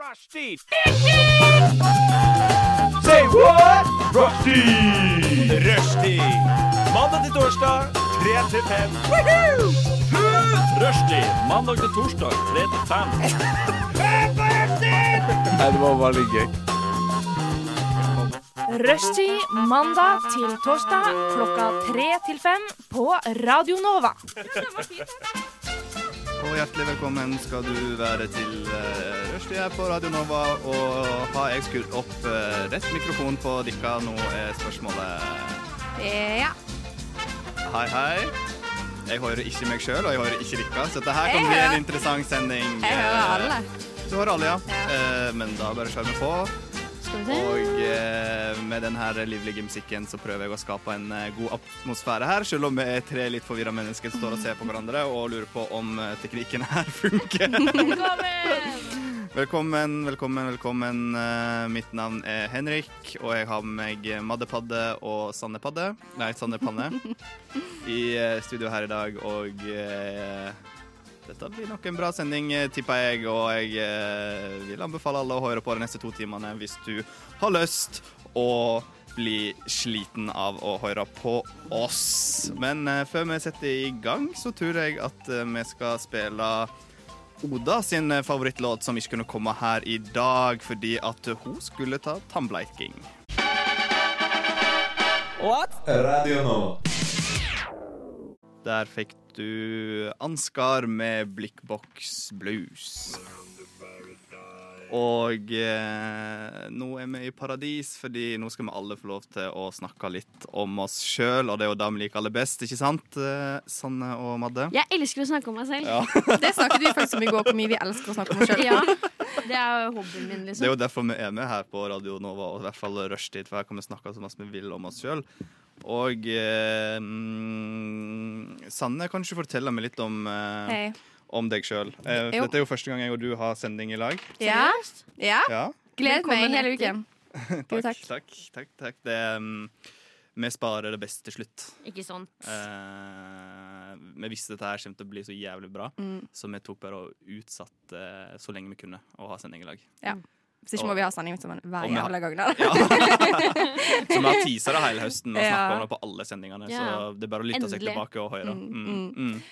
Rushdie. Say what? Rushdie! Rushdie. Mandag til torsdag, 3 til 5. Rushdie. Mandag til torsdag, 3 til 5. Rushtid mandag til torsdag klokka tre til fem på Radio Nova. Og hjertelig velkommen skal du være til uh, Rushdie her på Radio Nova. Og har jeg skrudd opp eh, rett mikrofon på dere? Nå er spørsmålet Eh, Ja. Hei, hei. Jeg hører ikke meg sjøl, og jeg hører ikke dere, så dette her Jeg kan bli en hører- interessant sending. Jeg hører Eh, alle. Du hører alle, ja. Ja. Eh, men da bare kjør vi på. Skal vi Og eh, med den her livlige musikken så prøver jeg å skape en eh, god atmosfære her, selv om vi er tre litt forvirra mennesker som står og ser på hverandre og lurer på om eh, teknikken her funker. Velkommen! Velkommen, velkommen, velkommen. Eh, mitt navn er Henrik, og jeg har med meg Maddepadde og Sanne Padde. Nei, Sanne Panne. I eh, studio her i dag, og eh, dette blir nok en bra sending, eh, tipper jeg. Og jeg eh, vil anbefale alle å høre på de neste to timene hvis du har lyst å bli sliten av å høre på oss. Men eh, før vi setter i gang, så tror jeg at eh, vi skal spille Oda sin eh, favorittlåt som ikke kunne komme her i dag fordi at hun skulle ta tannbleiking. Der fikk du Ansgar med Blikkboks Blues. Og eh, nå er vi i paradis, fordi nå skal vi alle få lov til å snakke litt om oss sjøl, og det er jo det vi liker aller best, ikke sant, eh, Sanne og Madde? Jeg elsker å snakke om meg selv. Ja. Det snakket vi faktisk om i går, hvor mye vi elsker å snakke om oss sjøl. Ja, Det er jo hobbyen min, Det er liksom. jo derfor vi er med her på Radio Nova, og i hvert fall rushtid, for her kan vi snakke så mye vi vil om oss sjøl. Og eh, mm, Sanne, kan du ikke fortelle meg litt om, eh, Hei. om deg sjøl? Eh, Jo. dette er jo første gang jeg og du har sending i lag. Ja. ja. Ja, Gledet meg Velkommen hele etter. uken. Jo, takk, Ah, takk. takk, takk, takk. Det, mm, vi sparer det beste til slutt. Ikke sånn. Eh, vi visste dette her kommer til å bli så jævlig bra, Mm. så vi tok bare og utsatte eh, så lenge vi kunne å ha sending i lag. Hvis ikke må vi ha sending sammen hver Og vi har- jævla gang. da. Ja. Så vi har teasa det hele høsten og snakka Ja. om det på alle sendingene. Ja. Så det er bare å lytte seg Endelig. tilbake og høre. Mm, Mm, mm,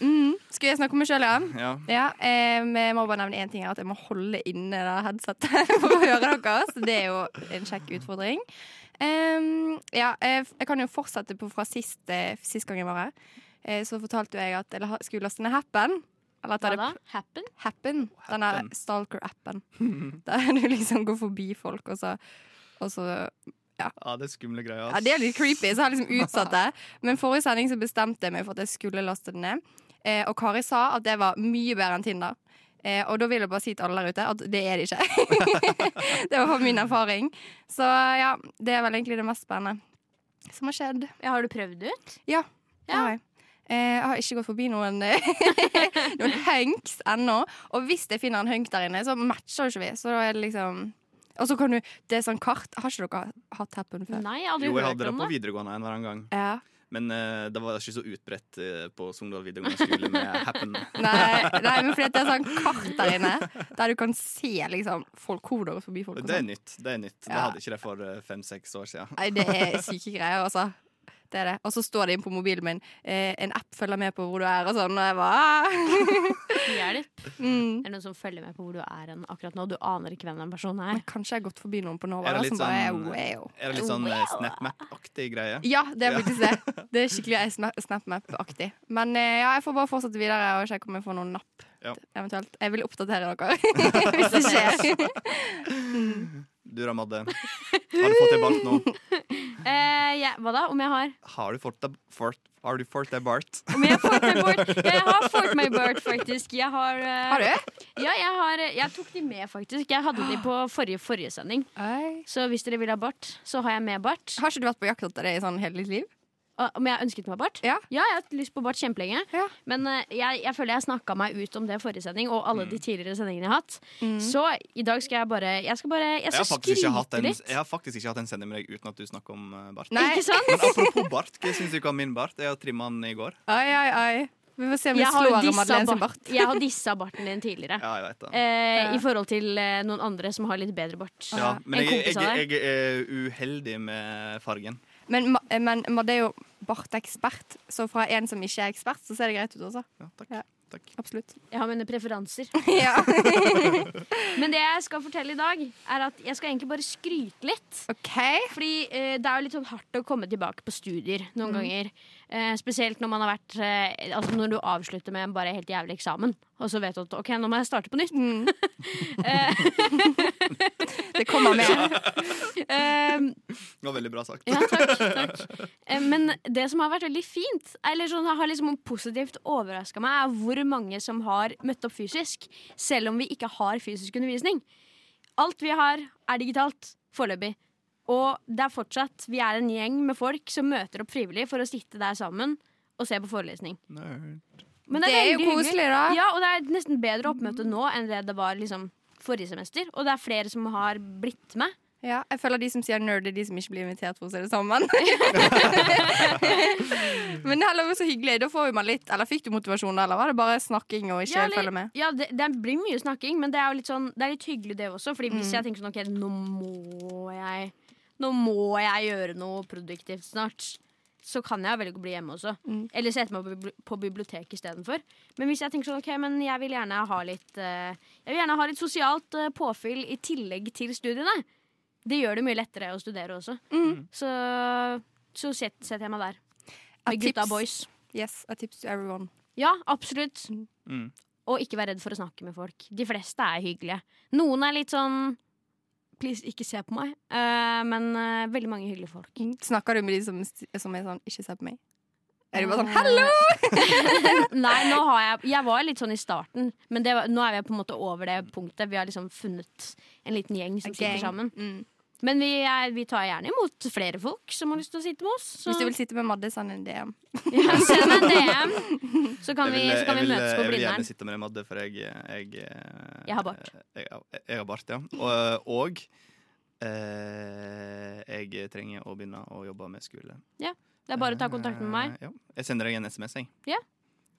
Mm. Skal jeg snakke om meg sjøl, ja? ja. Ja, eh, Vi må bare nevne én ting her, at jeg må holde inne det headsetet for å høre dere. Så det er jo en kjekk utfordring. Em, ja, eh, f- jeg kan jo fortsette på fra sist, eh, sist gang jeg var her. Eh, så fortalte jo jeg at jeg la- skulle laste ned Happen. Eller at Hva jeg hadde da? Happen? Happen. Denne Happen. stalker-appen. Der du liksom går forbi folk, og så, og så ja, det er skumle greier. ja, Det er litt creepy, så jeg har liksom utsatt det. Men forrige sending så bestemte jeg meg for at jeg skulle laste den ned. Eh, og Kari sa at det var mye bedre enn Tinder. Eh, og da vil jeg bare si til alle der ute at det er det ikke. det var min erfaring. Så ja, det er vel egentlig det mest spennende som har skjedd. Ja, har du prøvd det ut? Ja. Ja. Eh, jeg har ikke gått forbi noen Noen hunks ennå. Og hvis jeg finner en hunk der inne, så matcher jo ikke vi. Så da er det liksom Og så kan du Det er sånn kart. Har ikke dere hatt happen før? Nei, jeg har aldri Jo, jeg hørt hadde det om på det. videregående en eller annen gang. Ja. Men eh, det var ikke så utbredt eh, på Sogndal videregående skole med Happen. Nei, nei men fordi at det er sånn kart der inne, der du kan se liksom, folk, hvor det går forbi folk. og Det er sånn. nytt. Det er nytt. Det Ja. hadde ikke det for eh, fem-seks år siden. Nei, det er syke greier, altså. Det er det. Og så står det inn på mobilen min eh, en app følger med på hvor du er, og sånn. Og jeg bare Hjelp. ah. mm. Er det noen som følger med på hvor du er hen akkurat nå? Du aner ikke hvem den personen er. Men Kanskje jeg har gått forbi noen på Nova Er det da, litt som bare er sånn- Oh, wow. Er det litt sånn eh, SnapMap-aktig greie? Ja, det er Ja. faktisk det. Det er skikkelig SnapMap-aktig. Men eh, ja, jeg får bare fortsette videre og sjekke om jeg får noen napp. Ja. Eventuelt. Jeg vil oppdatere dere hvis det skjer. Du da, Madde. Har du fått deg bart nå? Eh, ja, hva da? Om jeg har? Har du fått deg fort, har du fått deg bart? Om jeg har fått meg bort? Jeg har fått meg bort, faktisk. Jeg har, eh, Har du? Ja, jeg, har, eh, jeg tok de med, faktisk. Jeg hadde de på forrige, forrige sending. Har Så hvis dere vil ha bart, så har jeg med bart. ikke du vært på jakt etter det i sånn hele ditt liv? Og Ah, Om jeg har ønsket meg bart? Ja. jeg har hatt lyst på bart kjempelenge. Ja. Men eh, jeg, jeg føler jeg snakka meg ut om det i forrige sending, og alle Mm. de tidligere sendingene jeg har hatt. Så i dag skal jeg bare Jeg skal bare Jeg Jeg har, skal faktisk ikke hatt skryte en, litt. jeg har faktisk ikke hatt en sending med deg uten at du snakker om eh, bart. Nei. Ikke sant? Men apropos bart, hva syns du ikke om min bart? Jeg har trimma den i går. Oi, oi, oi. Vi får se om vi Jeg har, jo slår dissa Madeleine sin bart. bart. jeg har dissa barten din tidligere. Ja, jeg vet det. Eh, I forhold til eh, noen andre som har litt bedre bart. Ja, men en jeg, kompis jeg, av deg. jeg er uheldig med fargen. Men, Ma- eh, men Madde er jo bartekspert, så fra en som ikke er ekspert, så ser det greit ut også. Ja, takk. Ja. takk. Absolutt. Jeg har mine preferanser. Ja. Men det jeg skal fortelle i dag, er at jeg skal egentlig bare skryte litt. OK. Fordi eh, det er jo litt sånn hardt å komme tilbake på studier noen ganger. Eh, spesielt når man har vært eh, Altså når du avslutter med en bare helt jævlig eksamen, og så vet du at OK, nå må jeg starte på nytt. Mm. det kommer med. Eh, Det var veldig bra sagt. ja, takk. takk. Eh, men det som har vært veldig fint, eller sånn har liksom positivt overraska meg, er hvor mange som har møtt opp fysisk, selv om vi ikke har fysisk undervisning. Alt vi har, er digitalt foreløpig. Og det er fortsatt, vi er en gjeng med folk som møter opp frivillig for å sitte der sammen og se på forelesning. Nerd. Men Det er jo veldig hyggelig. koselig, da. Ja, og det er nesten bedre oppmøte nå enn det det var liksom forrige semester. Og det er flere som har blitt med. Ja, jeg føler de som sier nerd, er de som ikke blir invitert for å se det sammen. Men det er heller så hyggelig. Da får man litt Eller fikk du motivasjon, eller var det bare snakking og ikke Ja, helt eller- følge med? Ja, det, det blir mye snakking, men det er jo litt, sånn, det er litt hyggelig det også. Fordi Mm. hvis jeg tenker sånn, ok, nå må jeg Nå må jeg gjøre noe produktivt snart. Så kan jeg velge å bli hjemme også. Mm. Eller sette meg på bibli- på biblioteket istedenfor. Men hvis jeg tenker sånn, ok, men jeg vil gjerne ha litt eh, Jeg vil gjerne ha litt sosialt eh, påfyll i tillegg til studiene. Det gjør det mye lettere å studere også. Mm. Så, så set- setter jeg meg der. Et Med gutta tips. boys. Yes, a tips to everyone. Ja, absolutt. Mm. Og ikke vær redd for å snakke med folk. De fleste er hyggelige. Noen er litt sånn Please, ikke se på meg. Eh, men eh, veldig mange hyggelige folk. Snakker du med de som, som er sånn ikke se på meg? Er de bare sånn Ah, hallo? Nei, nå har jeg Jeg var litt sånn i starten, men det var, nå er vi på en måte over det punktet. Vi har liksom funnet en liten gjeng som Gang. sitter sammen. Mm. Men vi, er, vi tar gjerne imot flere folk som har lyst til å sitte med oss. Så Hvis du vil sitte med Madde, send en DM. ja, send meg en DM, så kan Jeg vi, vil, så kan jeg vi vil, møtes på jeg vil gjerne Blindern. sitte med deg, Madde, for jeg Jeg, eh, Jeg har bart. Jeg, jeg har bart, ja. Og, og eh, jeg trenger å begynne å jobbe med skole. Det er bare å ta kontakt med meg. Eh, Ja. Jeg sender deg en SMS, jeg. Ja.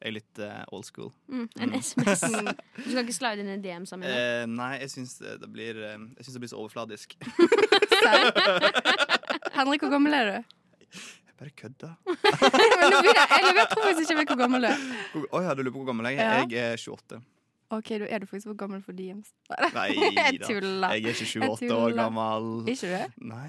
Jeg er litt eh, old school. Mm, en SMS. Du skal ikke slide inn i DM sammen? med meg. Eh, nei, jeg syns det det blir eh, Jeg syns det blir så overfladisk. Henrik, hvor gammel er du? Jeg bare kødder. Men nå begynner jeg, jeg tror faktisk ikke jeg vet hvor gammel du er. Hvor- Oi, ja, du lurer på hvor gammel jeg Ja. er? Jeg er 28. Ok, du er du faktisk for gammel for DMs. Nei Jeg da. tuller. Jeg er ikke Jeg 28 år tuller. gammel. Ikke du? Nei.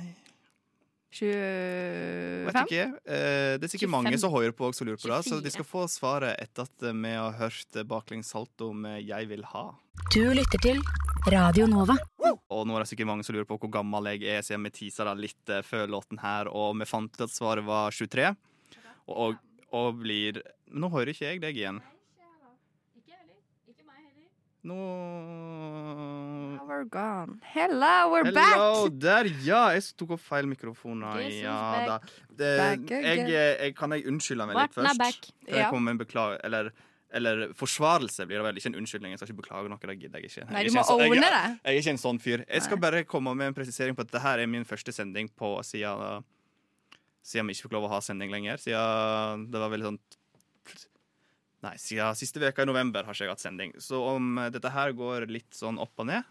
Vet 25? ikke. Eh, det er sikkert 25. mange som hører på og som lurer på det, så 24. de skal få svaret etter at eh, vi har hørt baklengs salto med 'Jeg vil ha'. Du lytter til Radio Nova. Og nå er det sikkert mange som lurer på hvor gammel jeg er, siden vi teaser det litt eh, før låten her, og vi fant ut at svaret var 23. Og, og, og blir Nå hører ikke jeg deg igjen. Nå We're gone. Hello, we're Hello, back! der, ja! Jeg tok opp feil mikrofoner. This is Ja, da. back. Det, Back jeg, eh, again. jeg, kan jeg unnskylde meg litt Barten er først? back. Kan jeg Ja. komme med en beklager, eller, eller forsvarelse blir det vel. Ikke en unnskyldning. Jeg skal ikke beklage noe. Det gidder jeg ikke. Jeg Nei, er du ikke må en sånn- owne jeg, det. jeg er ikke en sånn fyr. Jeg skal bare komme med en presisering på at dette her er min første sending på siden Siden vi ikke fikk lov å ha sending lenger. Siden det var veldig sånn Nei, siden siste veka i november har ikke jeg hatt sending. Så om eh, dette her går litt sånn opp og ned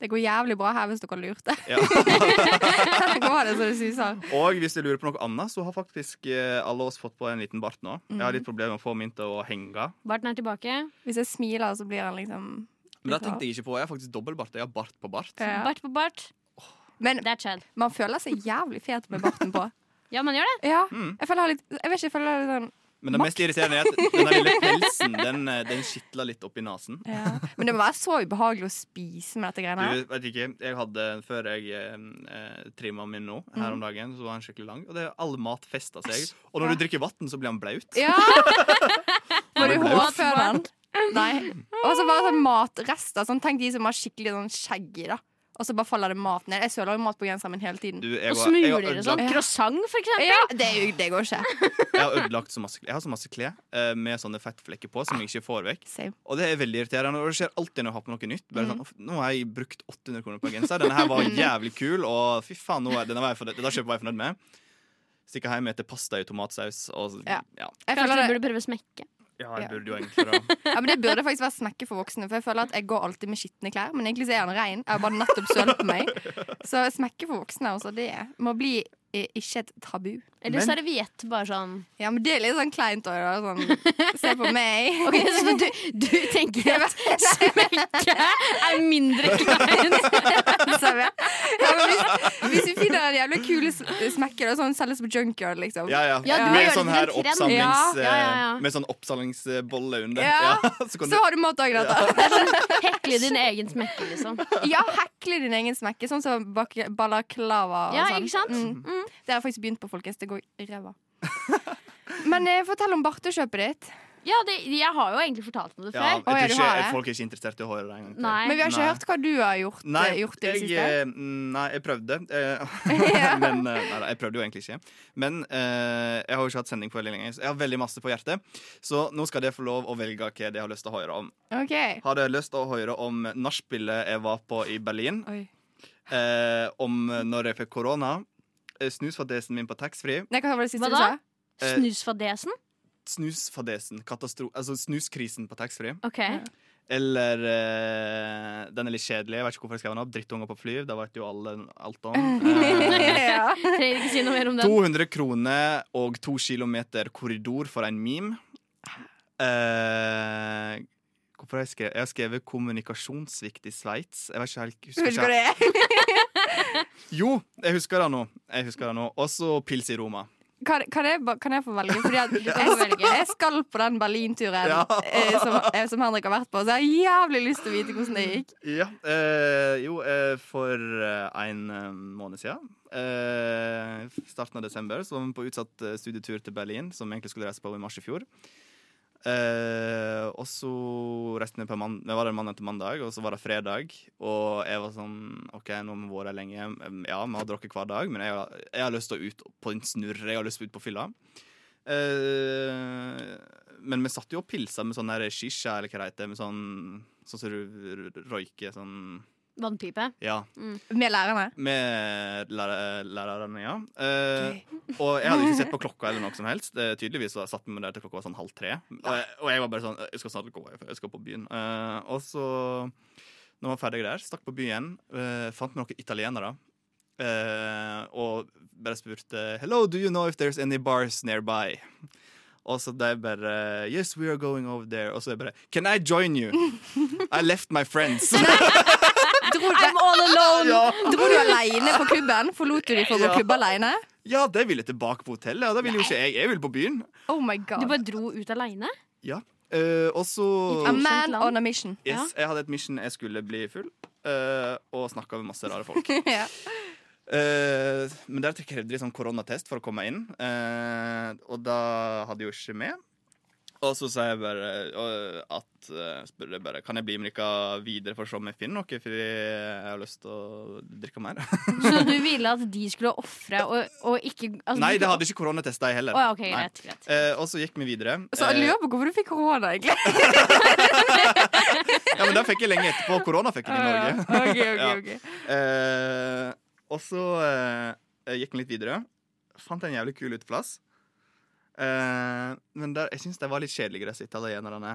Det går jævlig bra her hvis dere lurte. ja. Her går det så det suser. Og hvis dere lurer på noe annet, så har faktisk eh, alle oss fått på en liten bart nå. Jeg har litt problemer med å få min til å henge. Barten er tilbake. Hvis jeg smiler, så blir han liksom Men det tenkte jeg ikke på. Jeg har faktisk dobbeltbart. Jeg har bart på bart. Ja. Bart på bart. Men Det er chill. man føler seg jævlig fet med barten på. Ja, man gjør det. Ja, Mm. jeg føler jeg har litt Jeg vet ikke, jeg føler jeg har litt sånn Men det mest irriterende er at den der lille pelsen den, eh, den skitler litt oppi nesen. Men det må være så ubehagelig å spise med dette greiene. her. Du vet ikke, jeg hadde Før jeg eh, trimma min nå, her om dagen, så var han skikkelig lang. Og det er all mat festa seg. Og når du drikker vann, så blir han blaut. Ja! Må du Blaut. håpe før den? Nei. Og så bare sånn matrester. Sånn, tenk de som har skikkelig sånn skjegg i, da. Og så bare faller det mat ned. Jeg søler jo mat på genseren min hele tiden. Du, jeg, Og har- jeg, har smuler og sånn. ødelagt, Croissant, for eksempel. Ja, det, er jo- det går ikke. jeg har ødelagt så masse Jeg har så masse klær eh, med sånne fettflekker på som jeg ikke får vekk. Same. Og det er veldig irriterende. Og det skjer alltid når jeg har på noe nytt. Bare sånn, «Uff, nå har jeg brukt 800 kroner på en genser. Denne her var jævlig kul, og fy faen, nå er, denne var jeg fornøyd, dette kjøpet var jeg fornøyd med. Stikker hjem etter pasta i tomatsaus og Ja. ja. Jeg Kanskje føler du det, burde prøve å smekke. Ja, jeg Ja. burde jo egentlig det. Ja, men Det burde faktisk være smekke for voksne, for jeg føler at jeg går alltid med skitne klær. Men egentlig så er han rein. Jeg har bare nettopp sølt på meg. Så smekke for voksne, altså. Det må bli eh, ikke et tabu. Eller Men- serviett, bare sånn. Ja, men det er litt sånn kleint òg, da. Sånn, se på meg. Ok, Så du, du tenker at smekke er mindre kleint? Sånn Så jeg- Ja, men hvis, hvis vi finner en jævlig kule s- smekke, da, sånn selges på junkyard, liksom. Ja, ja. Ja, du med gjør det sånn til her en trend. oppsamlings... Ja, ja, ja, ja. eh, Med sånn oppsamlingsbolle under. Ja. så kan Så har du mat òg, Greta. Hekle din egen smekke, liksom. Ja, hekle din egen smekke, sånn som bak balaklava og Ja, sånn. ikke sant? Mm. Mm. Det har jeg faktisk begynt på, folkens. Det går i ræva. Men eh, fortell om bartekjøpet ditt. Ja, det, jeg har jo egentlig fortalt om det Ja, før. jeg Å, ja, tror du ikke har det. folk er ikke interessert i å høre det en gang til. Nei. Men vi har ikke Nei. hørt hva du har gjort, Nei, eh, gjort i det jeg, siste. eh, mm, nei, jeg prøvde. eh, Ja. Men, eh, nei, da, jeg prøvde jo egentlig ikke. Men eh, jeg har jo ikke hatt sending på veldig lenge, så jeg har veldig masse på hjertet. Så nå skal dere få lov å velge hva dere har lyst til å høre om. Ok. Har dere lyst til å høre om nachspielet jeg var på i Berlin? Oi. Eh, om når jeg fikk korona? eh, Snusfadesen min på taxfree? Nei, hva var det siste Hva du da? sa? eh, Snusfadesen? Snusfadesen, katastro... Altså snuskrisen på taxfree? Ok. Eller eh, den er litt kjedelig, jeg vet ikke hvorfor jeg skrev den opp. Drittunger på fly, det vet jo alle alt om. Eh, ja. Trenger ikke si noe mer om den. 200 kroner og to kilometer korridor for en meme. Eh, hvorfor har jeg skrevet? Jeg har skrevet 'kommunikasjonssvikt i Sveits'. Jeg vet ikke helt Du husker vet ikke. ikke hva det er? Jo, jeg husker det nå. Jeg husker det nå. Også pils i Roma. Kan, kan, jeg, ba- kan jeg få velge? Fordi at kan få jeg, velge. jeg skal på den Berlin-turen Ja. eh, som, eh, som Henrik har vært på, så jeg har jævlig lyst til å vite hvordan det gikk. Ja, eh, jo, eh, for eh, en eh, måned siden, eh, starten av desember, så var vi på utsatt eh, studietur til Berlin, som vi egentlig skulle reise på i mars i fjor. Eh, og så reiste vi på man vi var der mandag til mandag, og så var det fredag. Og jeg var sånn OK, nå har vi vært her lenge. Mm, Ja, vi har drukket hver dag, men jeg har, jeg har lyst til å ut på en snurre. Jeg har lyst til å ut på fylla. Eh, men vi satt jo og pilsa med sånn der shisha, eller hva det heter. Med sånn sånn som du r- røyker sånn Vannpipe. Ja. Med lærerne. Med lærer, lærerne, ja. Eh, og jeg hadde ikke sett på klokka eller noe som helst. Eh, tydeligvis så satt vi der til klokka var sånn halv tre. Og jeg, og jeg var bare sånn Jeg skal snart gå, jeg skal på byen. Eh, og så, når vi var ferdig der, stakk på byen, eh, fant vi noen italienere. eh, og bare spurte Hello, do you know if there's any bars nearby? Og så de bare Yes, we are going over there. Og så jeg bare Can I join you? I left my friends. I'm all alone! ja. Dro du aleine på klubben? Forlot du de for å gå Ja. klubb aleine? Ja, de ville tilbake på hotellet, og da ville jo ikke jeg. Jeg ville på byen. Oh my Du god. bare dro ut aleine? Ja. Eh, og så A man on a mission. Yes, jeg hadde et mission jeg skulle bli full, eh, og snakka med masse rare folk. Ja. Eh, men der krevde de sånn koronatest for å komme inn, eh, og da hadde jeg jo ikke med. Og så sa jeg bare eh, at eh, spurte jeg bare, Kan jeg bli med dere videre for å se om jeg finner noe, fordi jeg har lyst til å drikke mer. Så du ville at de skulle ofre og, og ikke altså, Nei, du- det hadde ikke koronatest, de heller. Å, ja, ok, Nei. greit, greit. Eh, og så gikk vi videre. Så jeg Eh, lurer på hvorfor du fikk korona, egentlig. Ja, men den fikk jeg lenge etterpå. Korona fikk jeg i Norge. Ok, ok, Ja. ok. Eh, og så eh, gikk vi litt videre. Fant en jævlig kul uteplass. Eh, men der, jeg syns de var litt kjedeligere, disse italienerne.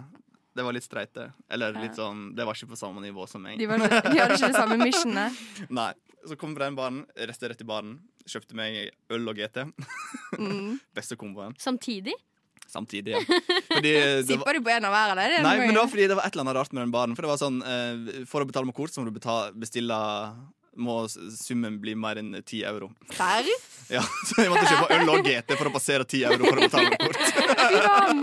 De var litt streite. Eller litt sånn Det var ikke på samme nivå som meg. De, var, de hadde ikke det samme missionet. Nei. Så kom vi på den baren, reiste rett i baren. Kjøpte meg øl og GT. Mm. Beste komboen. Samtidig? Samtidig, ja. Fordi det var Sippa du på en av hver av dem? Nei, men det var fordi det var et eller annet rart med den baren. For det var sånn, eh, for å betale med kort, så må du betale, bestille Må s- summen bli mer enn 10 euro. Serr? Ja, Så jeg måtte kjøpe øl og GT for å passere 10 euro for å betale med kort. Fy faen.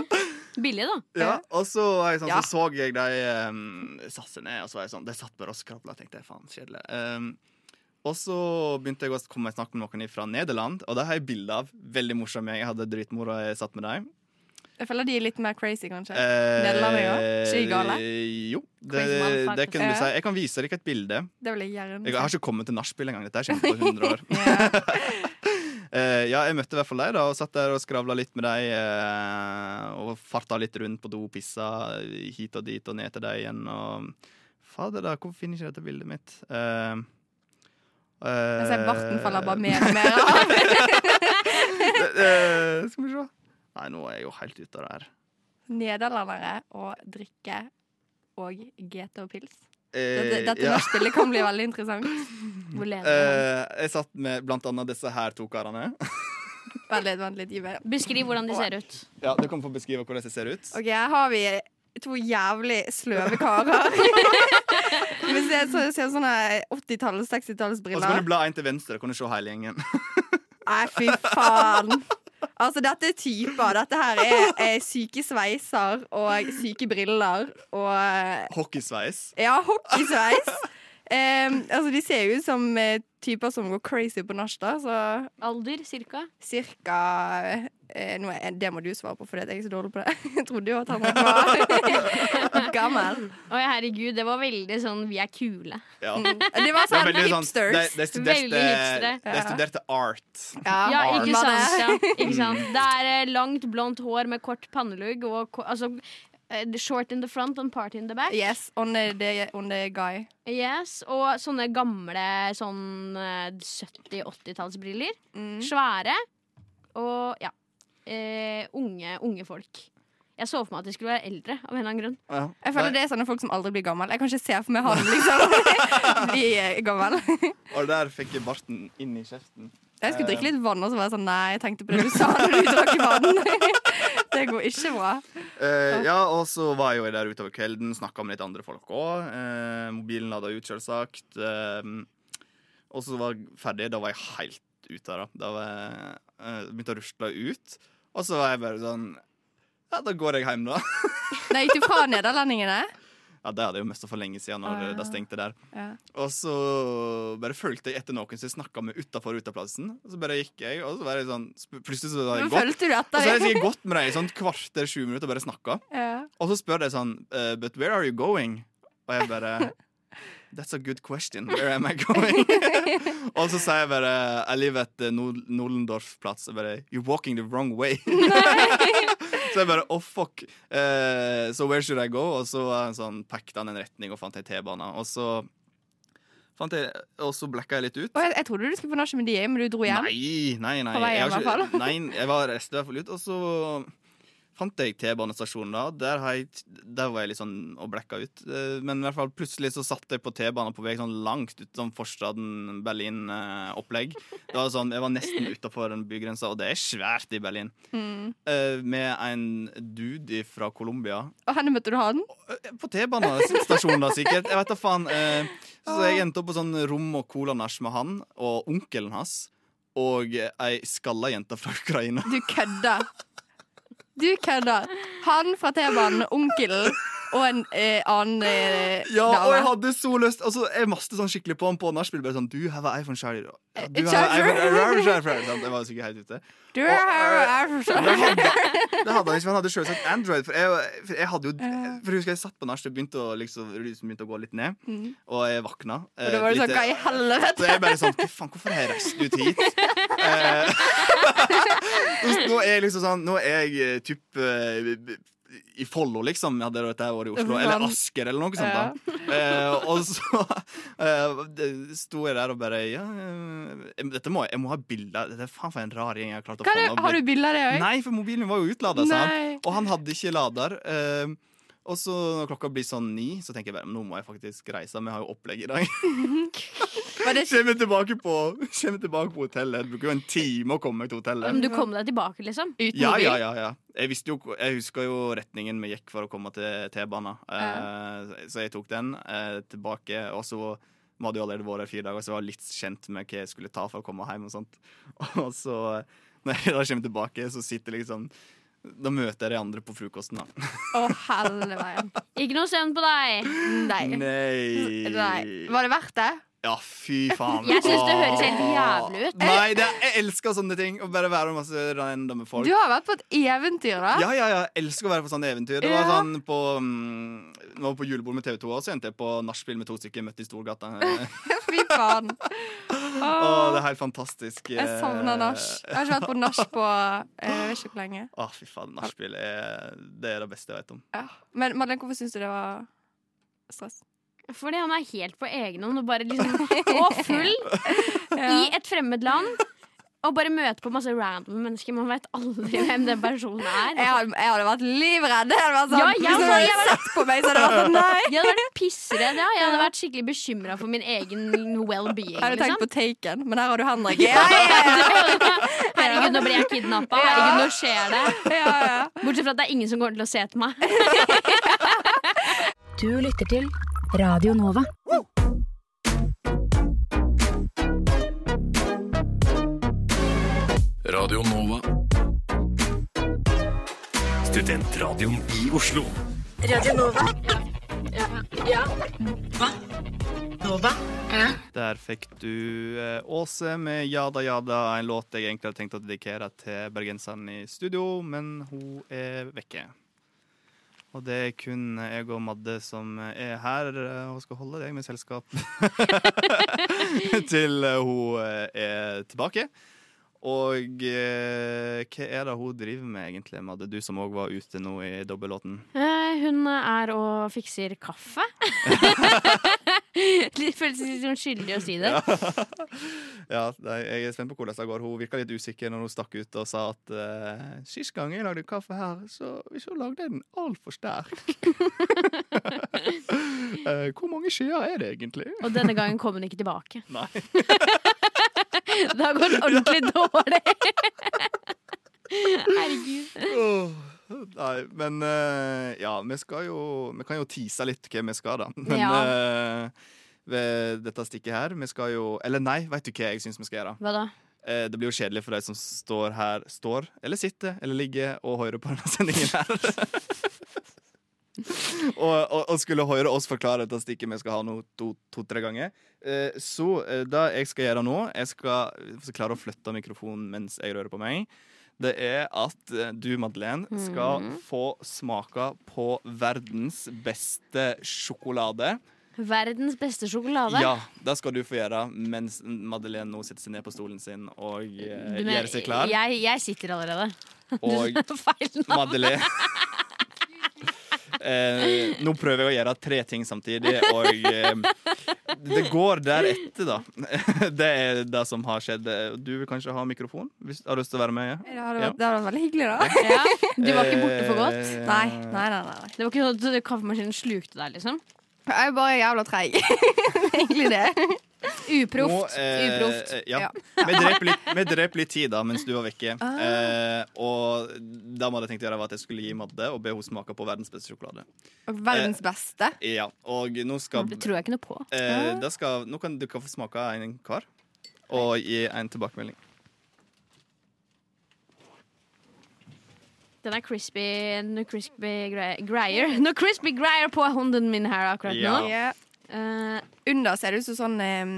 Billig, da. Ja, og så, var jeg sånn, Ja. så så jeg de um, satse ned, og så var jeg sånn De satt bare og skravla, tenkte jeg. Faen, kjedelig. Em, og så begynte jeg å komme i snakk med noen fra Nederland, og det har jeg bilde av. Veldig morsom jeg. Jeg hadde dritmoro jeg satt med dem. Jeg føler de er litt mer crazy, kanskje. Eh, Nederland er jo ikke gale. Jo, det, Crazy motherfuckers. det kan du Ja. si. Jeg kan vise dere et bilde. Det vil jeg gjerne Jeg har ikke kommet til nachspiel engang. Dette har jeg kjent på 100 år. Ja. Eh, ja, jeg møtte i hvert fall deg, da, og satt der og skravla litt med deg. eh, og farta litt rundt på do, pissa eh, hit og dit og ned til deg igjen. Og fader, da, hvorfor finner ikke dette bildet mitt? Uh, Jeg ser barten faller bare mer og mer av. Eh, skal vi se. Nei, nå er jeg jo helt ute av det her. nederlendere og drikke og GT og pils. Dette, Eh, dette ja. nachspielet kan bli veldig interessant. Hvor leder han? Eh, jeg satt med blant annet disse her to karene. Vent litt, vent litt, gi meg. Beskriv hvordan de ser ut. Ja, Du kan få beskrive hvordan de ser ut. Ok, her har vi to jævlig sløve karer. Vi ser, så, ser sånne 80-tallets, Og så kan du 60-tallsbriller. bla en til venstre, kan du se hele gjengen. Nei, fy faen. Altså, dette er typer. Dette her er, er syke sveiser og syke briller og eh, Hockeysveis. Ja, hockeysveis. Em, altså, de ser jo ut som eh, typer som går crazy på nach, da. Så Alder cirka. cirka eh, nå er, Det må du svare på, for jeg er så dårlig på det. Jeg trodde jo at han var gammel. Mm. Å herregud, det var veldig sånn vi er kule. Ja. Det var Det sånn var veldig sånn- hipsters. de, de, studerte, Veldig hipstere. de studerte art. Ja, Arm. ikke var sant, det. ja. ikke sant. Det er eh, langt, blondt hår med kort pannelugg og ko- altså, eh, short in the front and party in the back. Yes, on the, on the guy. Yes, Og sånne gamle sånn 70-80-tallsbriller. Mm. Svære. Og ja. Eh, unge, unge folk. Jeg så for meg at de skulle være eldre. av en eller annen grunn Ja. Jeg føler det er sånne folk som aldri blir gammel. Jeg kan ikke se for meg han liksom bli eh, gammel. Og der fikk jeg barten inn i kjeften. Jeg skulle drikke litt vann, og så var jeg sånn Nei, jeg tenkte på det du sa når du drakk vann. Det går ikke bra. Eh, ja, og så var jeg jo der utover kvelden, snakka med litt andre folk òg. mobilen lada ut, selvsagt. Eh, og så var jeg ferdig. Da var jeg helt ute, da. Da var jeg, eh, begynte jeg å rusle ut. Og så var jeg bare sånn Ja, da går jeg hjem, da. Nei, gikk du fra nederlendingene? Ja, det hadde jeg jo mest for lenge siden når Ah, ja. det stengte der. Ja. Og så bare fulgte jeg etter noen som jeg snakka med utafor ruteplassen. Og så bare gikk jeg, og så var jeg sånn Plutselig så hadde jeg gått. Fulgte Og du så etter har jeg dem? sikkert gått med dem i sånn kvarter, sju minutter og bare snakka. Ja. Og så spør de sånn «Eh, But where are you going? Og jeg bare That's a good question. Where am I going? og så sier jeg bare Jeg live at eh, Nol- Nolendorf-plass. Og bare You're walking the wrong way. så jeg bare Oh, fuck. Eh, so where should I go? Og så var han sånn, pekte han en retning og fant ei T-bane. Og så fant jeg Og så blekka jeg litt ut. Og jeg, jeg trodde du skulle på nachspiel med de, men du dro hjem. Nei, nei, nei. På vei jeg har hjem, i ikke- hvert fall. nei, jeg var resten i hvert fall ut, og så fant jeg T-banestasjonen da. Der, har jeg, der var jeg litt sånn og blekka ut. Eh, Men i hvert fall plutselig så satt jeg på T-banen på vei sånn langt utom forstaden Berlin-opplegg. Det var sånn, Jeg var nesten utafor bygrensa, og det er svært i Berlin. Mm. Eh, Med en dude fra Colombia Og henne møtte du han? på T-banestasjonen, da, sikkert. Jeg vet da faen. Eh, Så jeg endte opp på sånn rom og colanasj med han og onkelen hans. Og ei skalla jente fra Ukraina. Du kødda. Du kødda. Han fra T-banen, onkelen og en eh, annen eh, Ja, og jeg dame. hadde så lyst Altså, Jeg maste sånn skikkelig på han på nachspiel. Bare sånn Du have an iPhone charger. Ja, du Eh, have an charger. iPhone- iPhone charger. Sant, Jeg var sikkert helt ute. Du er her, Men og er- Det hadde, det hadde han ikke, for han hadde selvsagt Android. For jeg, for jeg hadde jo For jeg husker jeg satt på nachspiel og begynte å liksom liksom begynte å gå litt ned, og jeg eh, vakna. Mm. Og da var du sånn Hva i helvete? Så jeg bare sånn Hva faen, hvorfor har jeg reist ut hit? Eh, nå er jeg liksom sånn Nå er jeg eh, typ eh, i Follo, liksom. Hadde dette vært i Oslo. Eller Asker, eller noe sånt. da Eh, Og så eh, det- sto jeg der og bare Ja, eh, dette må jeg, jeg må ha bilder. Dette er faen for en rar gjeng jeg har klart å Hva få er det? Har du bilde av det òg? Nei, for mobilen var jo utlada, sa han. Nei. Og han hadde ikke lader. eh, og så når klokka blir sånn ni, så tenker jeg bare nå må jeg faktisk reise. Vi har jo opplegg i dag. Kommer tilbake på, kommer tilbake på hotellet. Det bruker jo en time å komme meg til hotellet. Men du kom deg tilbake, liksom. Uten Ja, ja, mobil? ja, ja. Jeg, visste jo, jeg husker jo retningen vi gikk for å komme til T-banen. Eh, så jeg tok den eh, tilbake. Og så vi hadde jo allerede vært der fire dager, så jeg var litt kjent med hva jeg skulle ta for å komme hjem. Og sånt. Og så, når jeg da kommer tilbake, så sitter liksom Da møter jeg de andre på frokosten, da. Å, helvete. Ikke noe søvn på deg. Nei. Nei. Nei. Var det verdt det? Ja, fy faen. Jeg synes det høres helt Åh. jævlig ut. Nei, det, jeg elsker sånne ting. Å bare være med masse randomme folk. Du har vært på et eventyr, da. Ja, ja, ja. Jeg elsker å være på sånne eventyr. Det var Ja. sånn på, mm, det var på julebord med TV 2 også, endte jeg på nachspiel med to stykker møtt i Storgata. Og Fy faen. det er helt fantastisk. eh, Jeg savner nach. Jeg har ikke vært på nach på eh, jeg vet ikke hvor lenge. Å, fy faen. Nachspiel er det, er det beste jeg vet om. Ja. Men Madeleine, hvorfor syns du det var stress? Fordi han er helt på egen hånd og bare liksom Og full i et fremmed land. Og bare møte på masse random mennesker. Man vet aldri hvem den personen er. Jeg hadde, jeg hadde vært livredd. Jeg hadde vært sånn, Ja, jeg hvis også, noen hadde jeg hadde- sett på meg, så hadde jeg vært sånn nei. Jeg hadde vært pissredd. Ja. Jeg hadde vært skikkelig bekymra for min egen well-being. Jeg hadde tenkt Liksom. på Taken, men her har du Henrik. Ja, ja, Herregud, nå blir jeg kidnappa. Herregud, nå skjer det. ja, ja. Bortsett fra at det er ingen som kommer til å se etter meg. Du lytter til Radio Nova. Radio Nova. Studentradioen i Oslo. Der fikk du eh, Åse med 'Jada Jada', en låt jeg egentlig hadde tenkt å dedikere til bergenserne i studio, men hun er vekke. Og det er kun jeg og Madde som er her eh, og skal holde deg med selskap til eh, hun eh, er tilbake. Og eh, hva er det hun driver med egentlig, Madde? Du som òg var ute nå i dobbellåten. Eh, Hun er og fikser kaffe. De føles litt som skyldig å si det. Ja, nei, jeg er spent på hvordan det går. Hun virka litt usikker når hun stakk ut og sa at eh, sist gang jeg lagde kaffe her, så, så lagde jeg den altfor sterk. Eh, hvor mange skjeer er det egentlig? Og denne gangen kom hun ikke tilbake. Nei. Da går det ordentlig dårlig. Herregud. Åh, Nei, men eh, ja, vi skal jo Vi kan jo tease litt hva vi skal, da. Men eh, ved dette stikket her, vi skal jo Eller nei, veit du hva jeg syns vi skal gjøre? Hva da? Eh, det blir jo kjedelig for de som står her, står eller sitter eller ligger og hører på denne sendingen her. og, og, og skulle høre oss forklare dette stikket vi skal ha nå to-tre ganger. Eh, så eh, det jeg skal gjøre nå Jeg skal jeg skal klare å flytte mikrofonen mens jeg rører på meg. Det er at eh, du, Madeleine, skal få smake på verdens beste sjokolade. Verdens beste sjokolade? Ja, det skal du få gjøre mens Madeleine nå setter seg ned på stolen sin og eh, Du mener- gjør seg klar. Jeg, jeg sitter allerede. Og Feil nå. Madeleine eh, Nå prøver jeg å gjøre tre ting samtidig, og eh, det går deretter, da. det er det som har skjedd. Du vil kanskje ha mikrofon? Hvis du har lyst til å være med? Ja. Det hadde vært, det hadde vært veldig hyggelig, da. Ja. Du var ikke borte for godt? Eh, Nei, nei, nei. nei. Det var ikke sånn at kaffemaskinen slukte deg, liksom? Jeg er bare jævla treig. Egentlig det. Uproft. Nå, eh, Uproft. Ja. Ja. Vi, drep litt, vi drep litt tid da, mens du var vekke. Eh, og da hadde jeg tenkt å gjøre var at jeg skulle gi Madde og be henne smake på verdens beste sjokolade. Og Eh, Verdens beste. Ja, og nå skal Det tror jeg ikke noe på. Eh, da skal, nå kan du kan få smake en hver, og gi en tilbakemelding. Den er crispy, noe crispy gre- greier. Noe crispy greier på hånden min her akkurat Ja. nå. Ja. Eh, Under ser det ut som sånn em,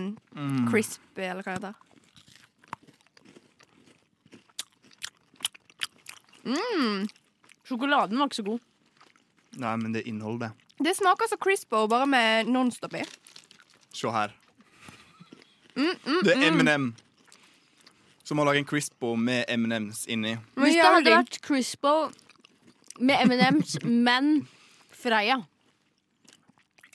crisp, eller hva det heter. sjokoladen var ikke så god. Nei, men det er innholdet. Det smaker som Crispo, bare med Nonstop i. Se her. Det er M&M. Som å lage en Crispo med M&Ms inni. Men Hvis det hadde jævlig. vært Crispo med M&M's, men Freia.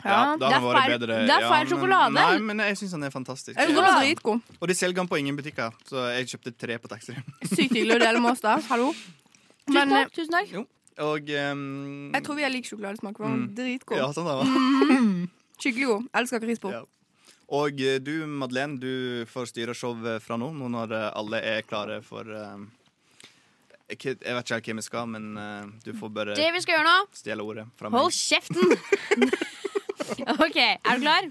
Ja, da det er hadde det vært feil- bedre. det er Ja, feil men- sjokolade. Nei, men jeg syns den er fantastisk. Jeg tror Ja. det var dritgod. Og de selger den på ingen butikker, så jeg kjøpte tre på taxfree. Sykt hyggelig å dele med oss, da. Hallo. Men eh, tusen takk. Og ehm, jeg tror vi har lik sjokoladesmak. for den var Dritgod. ja, sånn da. Skikkelig god. Elsker Crispo. Ja. Og eh, du, Madeleine, du får styre showet fra nå, nå når eh, alle er klare for eh, ikke- Jeg vet ikke helt hvem vi skal, men eh, du får bare Det vi skal gjøre nå stjele ordet fra meg. Hold kjeften! OK, er du klar?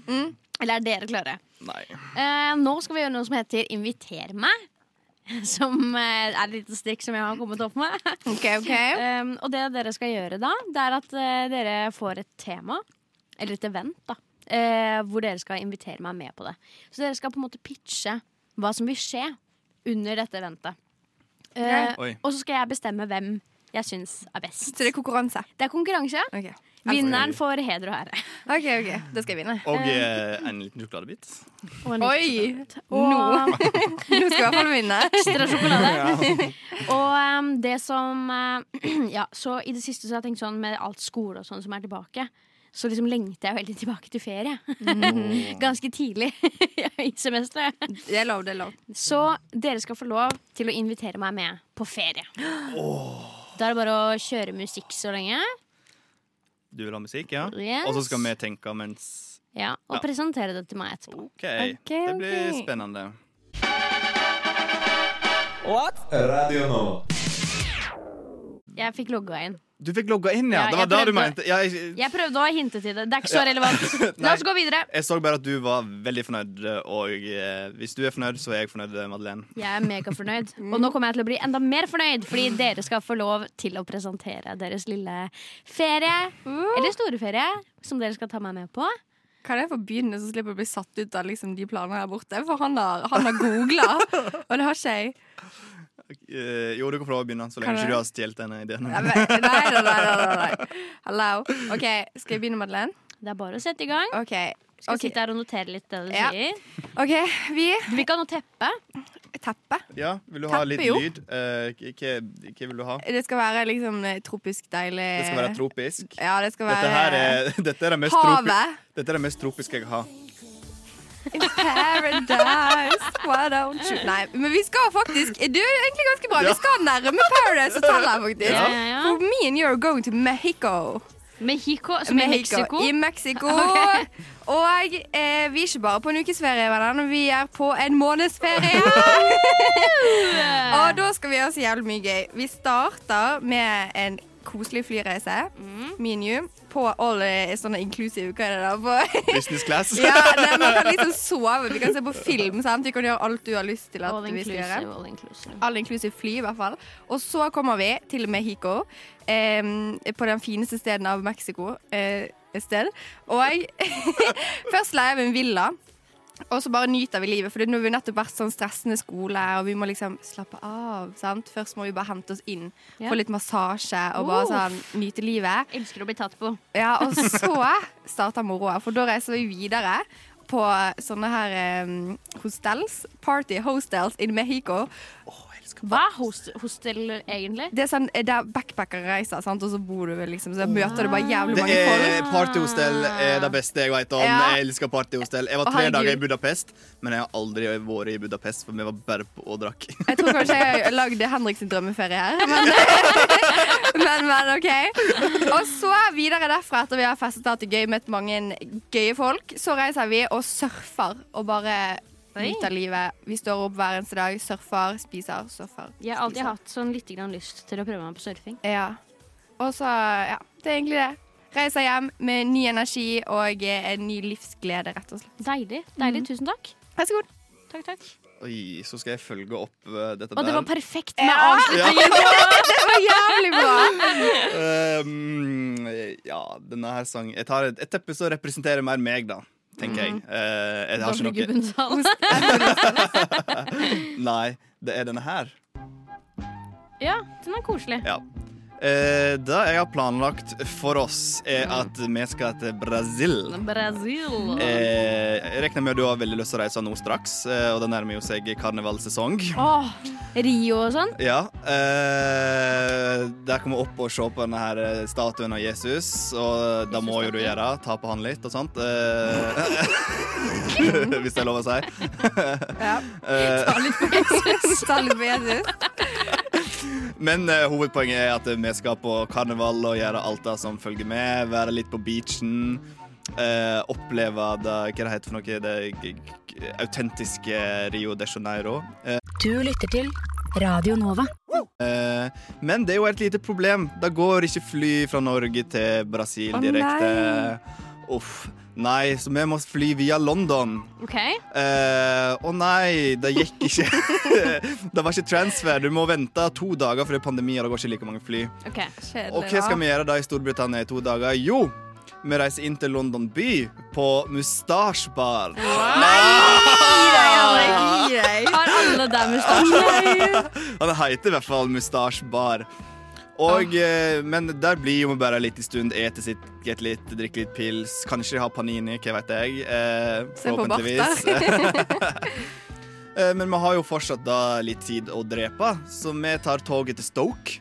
Eller er dere klare? Nei. Eh, nå skal vi gjøre noe som heter Inviter meg. Som eh, er et lite stikk som jeg har kommet opp med. OK, OK. Um, og det dere skal gjøre da, det er at eh, dere får et tema, eller et event, da, eh, hvor dere skal invitere meg med på det. Så dere skal på en måte pitche hva som vil skje under dette eventet. Eh, Oi. og så skal jeg bestemme hvem jeg syns er best. Så det er konkurranse. Det er konkurranse. OK, Vinneren får heder og ære. ok, ok, Det skal jeg vinne. Og eh, en liten sjokoladebit. Og en Oi! Og Nå skal jeg i hvert fall vinne. ekstra sjokolade. og um, det som eh, Ja, så i det siste så har jeg tenkt sånn med alt skole og sånn som er tilbake. så liksom lengter jeg veldig tilbake til ferie. Åh. Ganske tidlig i semesteret. Det er lov, det er lov. Så dere skal få lov til å invitere meg med på ferie. Da er det bare å kjøre musikk så lenge. Du vil ha musikk, ja? Yes. Og så skal vi tenke mens Ja, og Ja. presentere det til meg etterpå. OK. Det blir spennende. Radio Nova. Jeg fikk logga inn. Du fikk logga inn, ja? Ja, Det jeg var det du prøvde- mente? Ja, jeg, Jeg prøvde å hinte til det. Det er ikke så relevant. La oss gå videre. jeg så bare at du var veldig fornøyd, og eh, hvis du er fornøyd, så er jeg fornøyd, eh, Madeleine. Jeg er megafornøyd. Mm. Og nå kommer jeg til å bli enda mer fornøyd, fordi dere skal få lov til å presentere deres lille ferie. Eller store ferie, som dere skal ta meg med på. Kan jeg få begynne, så slipper jeg å bli satt ut av liksom, de planene her borte? For han har, han har googla, og det har ikke jeg. Eh, jo, du kan få lov å begynne, så Kan lenge ikke jeg? du har stjålet denne ideen. Nei, nei, nei, nei, nei, nei. Hello. OK, skal jeg begynne, Madeleine? Det er bare å sette i gang. OK. Skal Ok. sitte her og notere litt det du Ja. sier. ok, Vi Vi kan ha teppe. teppe. Ja, vil du ha Teppe, litt jo. lyd? Eh, k- Hva hva vil du ha? Det skal være liksom tropisk deilig Det skal være tropisk. Eh, Ja, det skal være Dette her er, dette er det mest tropiske havet. Dette er det mest tropiske jeg har. In paradise, why don't you Nei, men vi skal faktisk Du er egentlig ganske bra. Ja. Vi skal nærme Paradise Hotel her, faktisk. Ja, ja, ja. For me and you are going to Mexico. Mexico, som i Mexico. I Mexico. Og eh, vi er ikke bare på en ukesferie, venner. Vi er på en månedsferie. Og da skal vi gjøre så jævlig mye gøy. Vi starter med en koselig flyreise, Mm. me and you, på all eh, sånne inclusive Hva er det da? På Business class. ja, nei, man kan liksom sove, vi kan se på film, sant? Vi kan gjøre alt du har lyst til at All vi skal gjøre. inclusive, all inclusive. All inclusive fly, i hvert fall. Og så kommer vi til Mexico, eh, på den fineste steden av Mexico. Eh, et sted. Og først leier vi en villa. Og så bare nyter vi livet, for nå har vi nettopp vært sånn stressende skole, og vi må liksom slappe av. sant? Først må vi bare hente oss inn, Ja. få litt massasje og bare sånn nyte livet. Elsker å bli tatt på. Ja, og så starter moroa, for da reiser vi videre på sånne her em, hostels. Party hostels in Mexico. Hva er host hostel, egentlig? Det er sånn eh, der backpackere reiser, sant? og så bor du vel liksom, så møter du bare jævlig Det mange folk. er Partyhostel er det beste jeg vet om. Ja. Jeg elsker partyhostel. Jeg var Å, tre herregud. dager i Budapest, men jeg har aldri vært i Budapest, for vi var bare på og drakk. Jeg tror kanskje jeg lagde Henrik sin drømmeferie her, men, men, men OK. Og så videre derfra, etter vi har festet hatt det gøy, møtt mange gøye folk, så reiser vi og surfer og bare Oi. nyter livet. Vi står opp hver eneste dag, surfer, spiser, surfer. Jeg har alltid spiser. hatt sånn litt grann lyst til å prøve meg på surfing. Ja. Og så, ja, det er egentlig det. Reiser hjem med ny energi og eh, en ny livsglede, rett og slett. Deilig. Mm. deilig, Tusen takk. Vær så god. Takk, takk. Oi, så skal jeg følge opp eh, dette Og det der. var perfekt med Ja. avslutningen! Det var jævlig bra. Um, ja, denne her sangen Jeg tar et, et teppe som representerer mer meg, da. Tenker Mhm. jeg. Eh, jeg har ikke noe Gubbensal. Nei, det er denne her. Ja, den er koselig. Ja. Eh, det jeg har planlagt for oss, er at vi skal til Brasil. Brasil. Eh, jeg regner med at du har veldig lyst til å reise nå straks, eh, og det nærmer jo seg karnevalsesong. Åh, Rio og sånn. Ja. Eh, der kan vi opp og se på denne her eh, statuen av Jesus, og da må jo du gjøre. Ta på han litt og sånt. Eh, hvis det er lov å si. Ja. Eh, Ta litt på Jesus. men eh, hovedpoenget er at vi skal på karneval og gjøre alt det som følger med. Være litt på beachen. eh, oppleve det Hva det heter for noe? Det g- g- autentiske Rio de Janeiro. Eh, Du lytter til Radio Nova. Eh, Men det er jo et lite problem. Da går ikke fly fra Norge til Brasil Å, direkte. Uff. Nei, så vi må fly via London. OK. Eh, Å nei, det gikk ikke. det var ikke transfer. Du må vente to dager fordi pandemi, og det går ikke like mange fly. ok Og hva skal vi gjøre da i Storbritannia i to dager? Jo, vi reiser inn til London by på Mustache Bar. Gi deg, Henrik. Gi deg. Har alle der mustasje? Han heter i hvert fall Mustache Bar. Ah. Og, eh, men der blir jo bare litt i stund, ete sitt, get litt, drikke litt pils, kanskje ha panini, hva vet jeg. Eh, Se på Eh, men vi har jo fortsatt da litt tid å drepe, så vi tar toget til Stoke.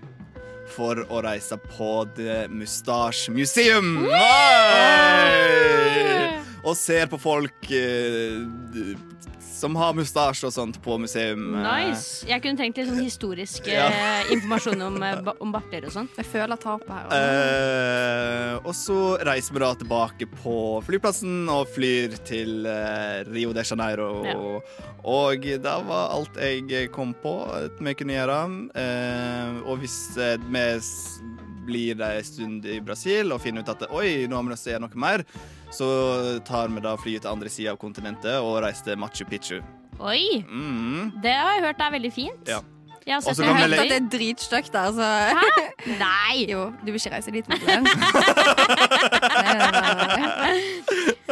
for å reise på The Mustache Museum. Oi! Og ser på folk eh, d- som har mustasje og sånt på museum. eh. Nice. Jeg kunne trengt litt sånn historisk Ja. eh, informasjon om, eh, ba- om barter og sånn. Jeg føler tapet her. Eh, og så reiser vi da tilbake på flyplassen og flyr til eh, Rio de Janeiro. Og det var alt jeg kom på at vi kunne gjøre. Eh, og hvis eh, vi s- blir ei stund i Brasil og finner ut at oi, nå har vi lyst til å gjøre noe mer, så tar vi da flyet til andre sida av kontinentet og reiser til Machu Picchu. Oi! Mm. Det har jeg hørt er veldig fint. Ja. Jeg har Og sett så det Jeg kan vi har høyt. hørt legge- at det er dritstygt der, så Nei! Jo, du vil ikke reise dit, Madeleine? Nei, nei, nei, nei.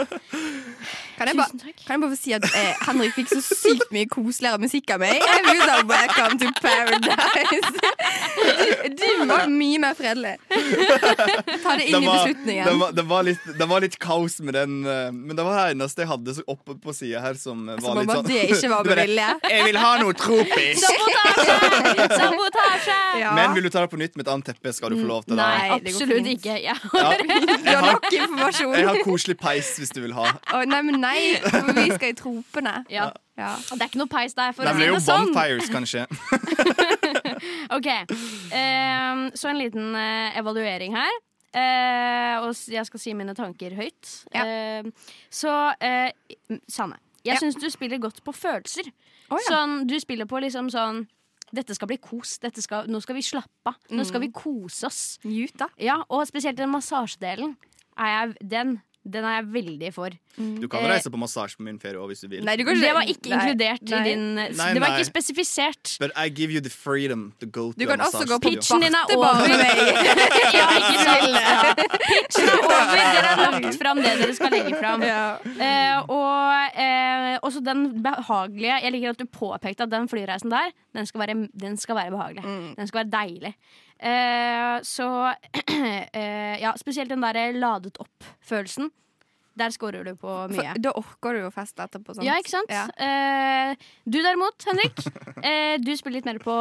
Kan jeg bare Tusen takk. kan jeg bare få si at eh, Henrik fikk så sykt mye koseligere musikk av meg. Jeg vil sånn, Welcome to paradise. Du, du var mye mer fredelig. Ta det inn i det, beslutningen. var, det, var litt, det var litt kaos med den, eh, men det var det eneste jeg hadde så oppe på sida her som eh, Som var om litt at sånn det ikke var Du bare, med vilje. Jeg vil ha noe tropisk! Sabotasje! Sabotasje! Ja. Men vil du ta det på nytt med et annet teppe, skal du få lov til det. Nei, Nei, det går absolutt fint. ikke. Jeg Ja. har Du har har- nok informasjon. Jeg har koselig peis hvis du vil ha. Å, nei, men nei, for vi skal i tropene. ja. Ja. Det er ikke noe peis der, for Det å si blir jo det sånn. bonfires, kanskje. Ok, ehm, så en liten eh, evaluering her. Eh, og s- jeg skal si mine tanker høyt. Ja. Ehm, så eh, m- Sanne, jeg Ja. syns du spiller godt på følelser. Å, ja. Sånn, du spiller på liksom sånn Dette skal bli kos. Dette skal, nå skal vi slappe av. Nå skal Mm. vi kose oss. Njut, da. Ja, og spesielt den massasjedelen. Er jeg, den, den er jeg veldig for. Du kan Eh, reise på massasje på min ferie òg, hvis du vil. Mm. Nei, du går Det var ikke Nei. inkludert Nei. i din Nei, Det var nei. ikke spesifisert. But I give you the freedom to go to Du kan a også gå på massasjestudio. Pitchen din er bartebar over. med meg. Ja, ikke sant? Ja. Pitchen er over. Dere har lagt fram det dere skal legge fram. Ja. Eh, og eh, også den behagelige Jeg liker at du påpekte at den flyreisen der, den skal være, den skal være behagelig. Den skal være deilig. Eh, så eh, Ja, spesielt den derre ladet opp-følelsen. Der scorer du på mye. For, da orker du jo fest etterpå. Sant? Ja, ikke sant? Ja. Eh, du derimot, Henrik, eh, du spiller litt mer på,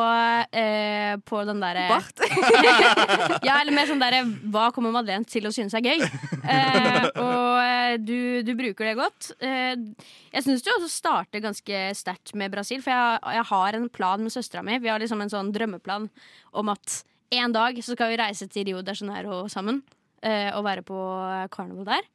eh, på den derre Bart. ja, eller mer sånn der Hva kommer Madeleine til å synes er gøy? Eh, og eh, du, du bruker det godt. Eh, jeg syns du også starter ganske sterkt med Brasil, for jeg, jeg har en plan med søstera mi. Vi har liksom en sånn drømmeplan om at en dag så skal vi reise til Rio de Janeiro sammen eh, og være på karneval der.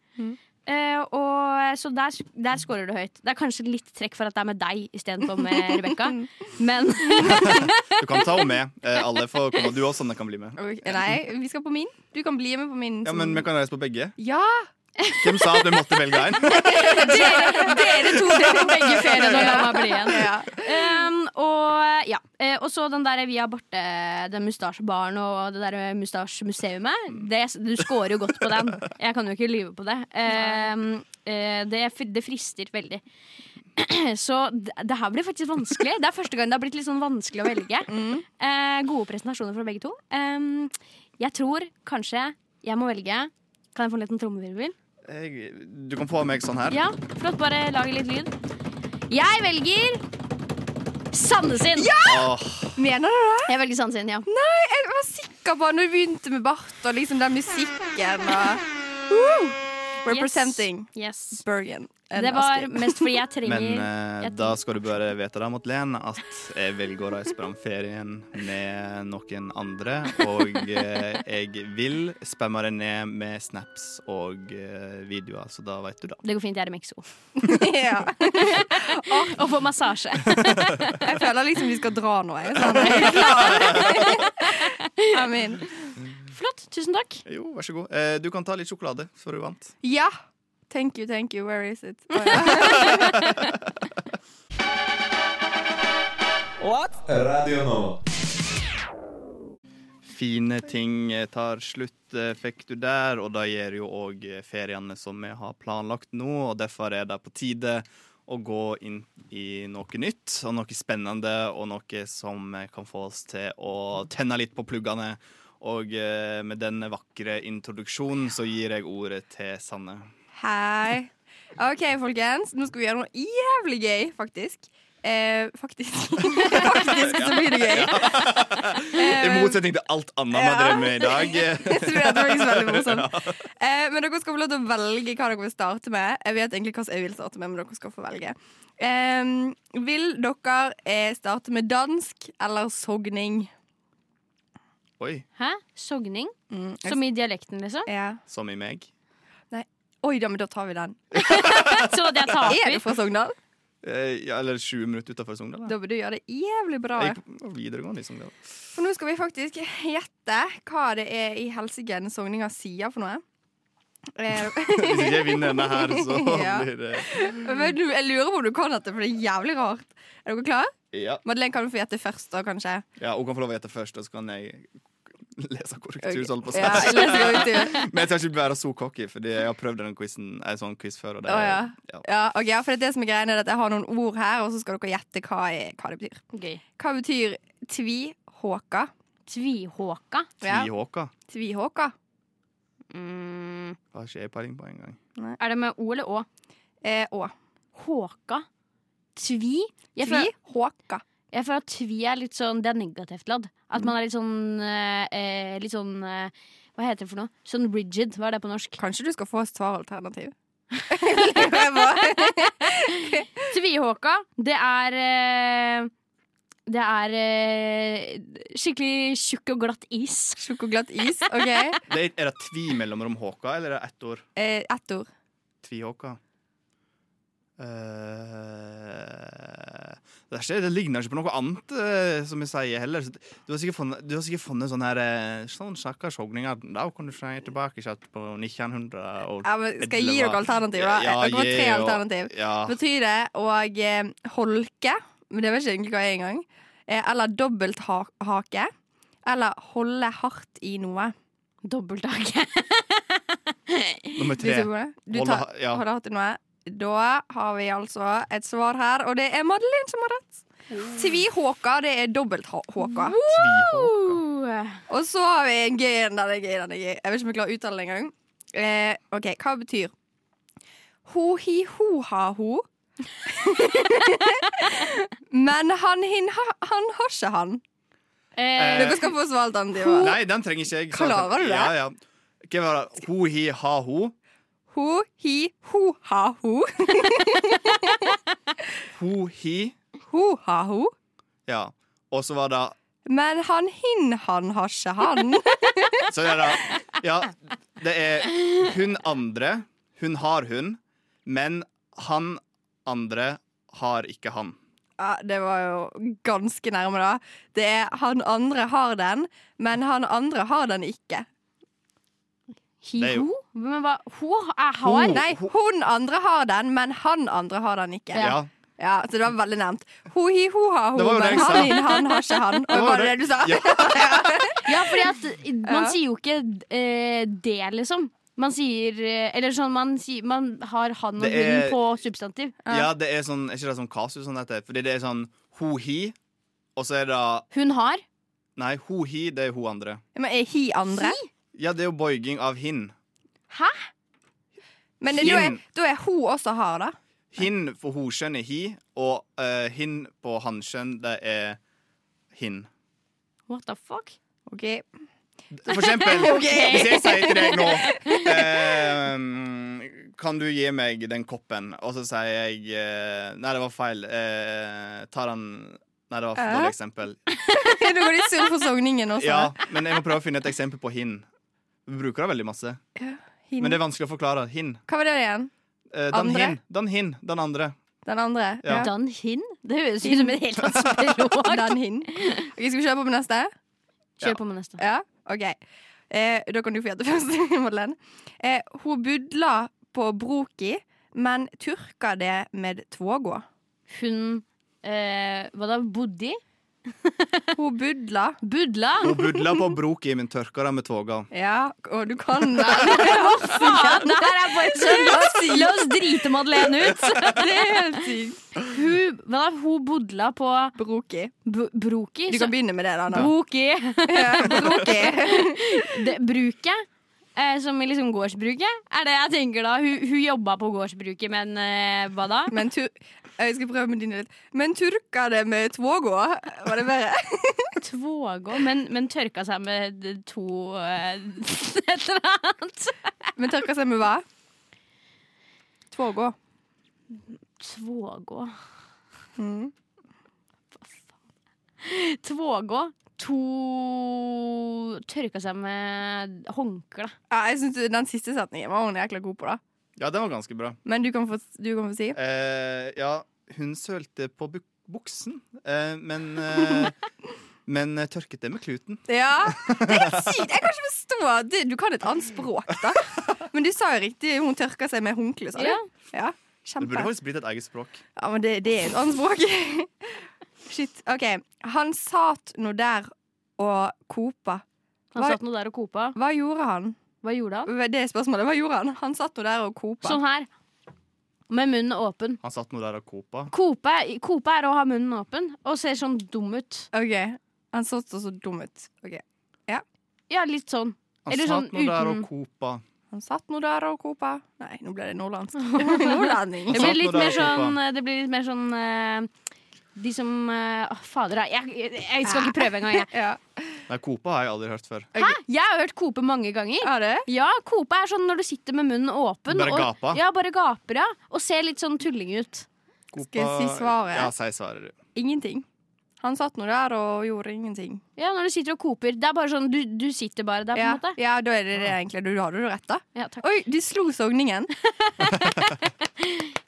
Eh, og, så der, der scorer du høyt. Det er kanskje litt trekk for at det er med deg istedenfor med Rebekka, men Du kan ta henne med. Eh, Alle får komme. Du også, Sanne, kan bli med. Ok, Nei, vi skal på min. Du kan bli med på min. Ja, som- men vi kan reise på begge. ja Hvem sa at vi måtte velge en? dere to dere på begge feriene og la meg bli igjen. ja. Ehm, og ja, eh, og så den der via Borte, den mustasjebaren og det der mustasjemuseumet. det- Du scorer jo godt på den. Jeg kan jo ikke lyve på det. Ehm, eh, det, fr- det frister veldig. Så det, det her blir faktisk vanskelig. Det er første gang det har blitt litt sånn vanskelig å velge. Eh, gode presentasjoner fra begge to. Ehm, jeg tror kanskje jeg må velge Kan jeg få en liten trommevirvel? Jeg, du kan få meg sånn her. Ja, flott. Bare lage litt lyd. Jeg velger Sanne sin! Åh. Mener du det? Jeg velger Sanne sin, ja. Jeg var sikker på når du begynte med bart og liksom den musikken og Woo! Representing Yes. yes. Bergen. and Det var Asker. mest fordi jeg trenger Men eh, jeg- da skal du bare vite da, Madeleine, at jeg velger å reise på den ferien med noen andre. Og eh, jeg vil spamme deg ned med snaps og eh, videoer, så da vet du da. Det går fint, jeg er i Mexico. ja. Og får massasje. Jeg føler liksom vi skal dra nå. Jeg, sånn. jeg er klar. Amen. Flott. Tusen takk. Jo, vær så god. Eh, du kan ta litt sjokolade, for du vant. Ja. Thank you, thank you. Where is it? Å, ja. Radio Nova. Fine ting eh, tar slutt, eh, fikk du der, og det gjør jo òg feriene som vi har planlagt nå, og derfor er det på tide å gå inn i noe nytt og noe spennende og noe som eh, kan få oss til å tenne litt på pluggene. Og eh, med denne vakre introduksjonen så gir jeg ordet til Sanne. Hei. OK, folkens. Nå skal vi gjøre noe jævlig gøy, faktisk. Eh, faktisk. faktisk så blir det gøy. I Eh, motsetning til alt annet vi Ja. drev med i dag. Jeg tror det var ikke så veldig morsomt. Eh, men dere skal få lov til å velge hva dere vil starte med. Jeg vet egentlig hva som jeg vil starte med, men dere skal få velge. Eh, vil dere eh, starte med dansk eller sogning? Oi, Hæ? Sogning? Mm, jeg- Som i dialekten, liksom? ja. som i meg. Oi, da, men da tar vi den. Så jeg Er du taper. fra Sogndal? Eh, ja, eller 20 minutter utenfor Sogndal. da. Da bør du gjøre det jævlig bra. Jeg gikk på videregående liksom, i Sogndal. For nå skal vi faktisk gjette hva det er i helsike sogninga sier for noe. Eh, Hvis ikke jeg vinner denne her, så Ja. blir det men du- jeg lurer på om du kan dette, for det er jævlig rart. Er dere klare? ja. Madeleine kan du få gjette først, da, kanskje. ja, hun kan få lov å gjette først, og så kan jeg lese korrektur. så holdt på å si. Ja, Altså, jeg leser jo ut i- Men jeg skal ikke være så cocky, Fordi jeg har prøvd den quizen, en sånn quiz før. Og det, Å, ja. ja. Ja, ok, ja, for det, er det som er greia, er at jeg har noen ord her, og så skal dere gjette hva, er, hva det betyr. Gøy. Hva betyr tvihåka? Tvihåka. Ja, Tvihåka tvihåka. Mm. har ikke jeg peiling på engang. Er det med O eller Å? Eh, å. Håka. Tvi? Jeg føler, Tvihåka. jeg føler at tvi er litt sånn Det er negativt ladd. At man er litt sånn eh, eh, Litt sånn eh, Hva heter det for noe? Sånn rigid. Hva er det på norsk? Kanskje du skal få svaralternativ? Jeg bare- Tvihåka, det er eh, Det er eh, skikkelig tjukk og glatt is. Sjokoglatt is, ok. Det er, er det tvi mellomrom håka, eller er det ett ord? Eh, ett ord. Tvihåka. Eh, det, er ikke, det ligner ikke på noe annet, eh, som jeg sier heller. Så Du har sikkert funnet, du har sikkert funnet sånn her eh, Sånn stakkars hogninger. Da kan du se tilbake kjapt på 1900 og Ja, men skal jeg gi dere alternativer? da? Ja, dere har gi tre og- alternativ. Ja. Betyr det å eh, holke, men det vet ikke egentlig hva jeg er engang, eh, eller dobbelthake, eller holde hardt i noe. Dobbelthake. Nummer Du, tre. tror på det? du Holde tar, ha- ja. holde hardt i noe. Da har vi altså et svar her, og det er Madeline som har rett. Tvihåka, det er dobbelthåka. Tvihåka. Og så har vi en gøy en. Den er gøy, den er gøy. Jeg vet ikke om jeg klarer å uttale det engang. Eh, OK, hva betyr ho-hi-ho-ha-ho? Men han, hin, ha, han har ikke han. Eh, Dere skal få svart han. Nei, den trenger ikke jeg. Klarer du det? Ja, ja. Hva var det? Ho, hi, ha, ho. Ho-hi-ho-ha-ho. Ho, hi. Ho-ha-ho. Ja. Og så var det Men han hin, han har ikke han. Så det er da Ja, det er hun andre. Hun har hun. Men han andre har ikke han. Ja, det var jo ganske nærme, da. Det er han andre har den, men han andre har den ikke. Det er jo- Hi-ho? Men hva? Ho Eh, er Ho. har? Nei, hun andre har den, men han andre har den ikke. Ja. Ja, så det var veldig nærmt. Ho-hi-ho-ha-ho, Det var jo det men jeg sa. han, din, han har ikke han. Og Det det var var jo det det- du sa? Ja. Ja, fordi at man Ja. sier jo ikke eh, det, liksom. Man sier eh, Eller sånn, man, sier, man har han og Det er- hun på substantiv. ja, det er sånn Er ikke det sånn kasus sånn dette? Fordi det er sånn ho, hi, og så er det Hun har. Nei, ho, hi, det er ho andre. Men er hi andre? Ja, det er jo boiging av hin. Men da er, Hin. da er ho også har, da. Hin for hokjønn er hi, og eh, hin på hankjønn, det er hin. What the fuck? Ok, For eksempel, hvis jeg sier til deg nå ehm, Kan du gi meg den koppen? Og så sier jeg eh, Nei, det var feil. Eh, ta den Nei, det var et dårlig eksempel. Nå går de sur for sogningen også. Ja, men jeg må prøve å finne et eksempel på hin. Vi bruker det veldig masse, Hin. men det er vanskelig å forklare. Hin. Hva var det igjen? Eh, den Andre? hin. Den hin. Den andre. Den andre? Ja. Dan hin? Det høres ut som et helt annet språk. Den hin. Ok, skal vi kjøre på med neste? Kjør på med neste. Ja, ok. Eh, da kan du få gjette først, Madeleine. Eh, hun budla på broki, men tørka det med tvågå. Hun eh, Hva da? Bodde? Hun budla Budla? Hun budla på broket i min tørker med tåga. Ja, og du kan den. Faen, det her er bare sånn La oss, la oss drite Madeleine ut! Det er helt sykt. Hun, hva da? Hun bodla på Broki. b Broki? Du så- kan begynne med det, da. da. Broki! Ja, Broki. det, bruket, eh, som i liksom gårdsbruket, er det jeg tenker da. Hun, hun jobba på gårdsbruket, men eh, hva da? Men tur... Jeg skal prøve med dine litt. Men turka det med tvågå? Var det bedre? Tvågå, men, men tørka seg med d- to eh, et eller annet. Men tørka seg med hva? Tvågå. Tvågå. Mm. Tvågå. To Tørka seg med håndkle. Ja, jeg synes Den siste setningen var hun jækla god på, da. Ja, den var ganske bra. Men du kan få, du kan få si. Eh, ja, hun sølte på buk buksen, eh, men eh, Men eh, tørket det med kluten. Ja, Det er helt sykt! Jeg kan ikke forstå det. Du kan et annet språk, da. Men du sa jo riktig hun tørka seg med håndkle, sa du? Ja. Ja, Det burde Kjempe. faktisk blitt et eget språk. Ja, men det, det er et annet språk. Shit. OK. Han satt nå der og kopa. Han Hva- satt nå der og kopa. Hva gjorde han? Hva gjorde han? Det er spørsmålet. Hva gjorde han? Han satt nå der og kopa. Sånn her. Med munnen åpen. Han satt nå der og kopa. Kope, kope er å ha munnen åpen og ser sånn dum ut. OK. Han så så, så dum ut. Ok. Ja, litt sånn. Han Eller satt sånn nå der og uten- kopa. Han satt nå der og kopa. Nei, nå ble det nordlandsk. Nordlanding. Det satt blir nå litt der mer og kopa. sånn, det blir litt mer sånn eh, De som eh, Å, fader, da. jeg, jeg, jeg skal ikke prøve engang, jeg. Ja. Nei, kopa har jeg aldri hørt før. Hæ? Jeg har hørt kope mange ganger. Er det? Ja, kope er sånn når du sitter med munnen åpen. Bare og, gapa. Ja, bare gaper, ja. Og ser litt sånn tulling ut. Kopa Skal jeg si svaret? Ja, si svaret, du. Ingenting. Han satt nå der og gjorde ingenting. Ja, når du sitter og koper. Det er bare sånn, du, du sitter bare der, på en Ja, måte. ja da er det det egentlig. Du hadde jo rett, da. Ja, takk. Oi, de slo sogningen.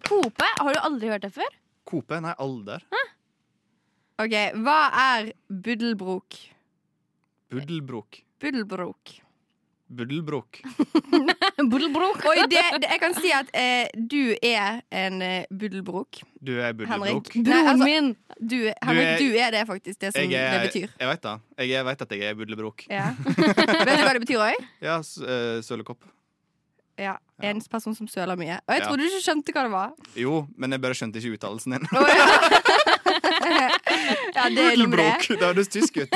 Kope, har du aldri hørt det før? Kope? Nei, alder. OK, hva er buddelbrok? Buddelbrok. Buddelbrok. Buddelbrok. Buddelbrok. Oi, det, det, jeg kan si at eh, du er en eh, buddelbrok, Du er buddelbrok. Henrik. Nei, altså, min. du, Henrik, er- du er det faktisk, det som Jeg, er, det jeg betyr. vet da. Jeg, er- vet at jeg er buddelbrok. Ja. Vet du hva det betyr òg? Ja, s- eh, sølekopp. Ja. En person som søler mye. Og jeg Ja. trodde du ikke skjønte hva det var. Jo, men jeg bare skjønte ikke uttalelsen din. Å, ja. ja, det er noe med det. Buddelbrok! Det høres tysk ut.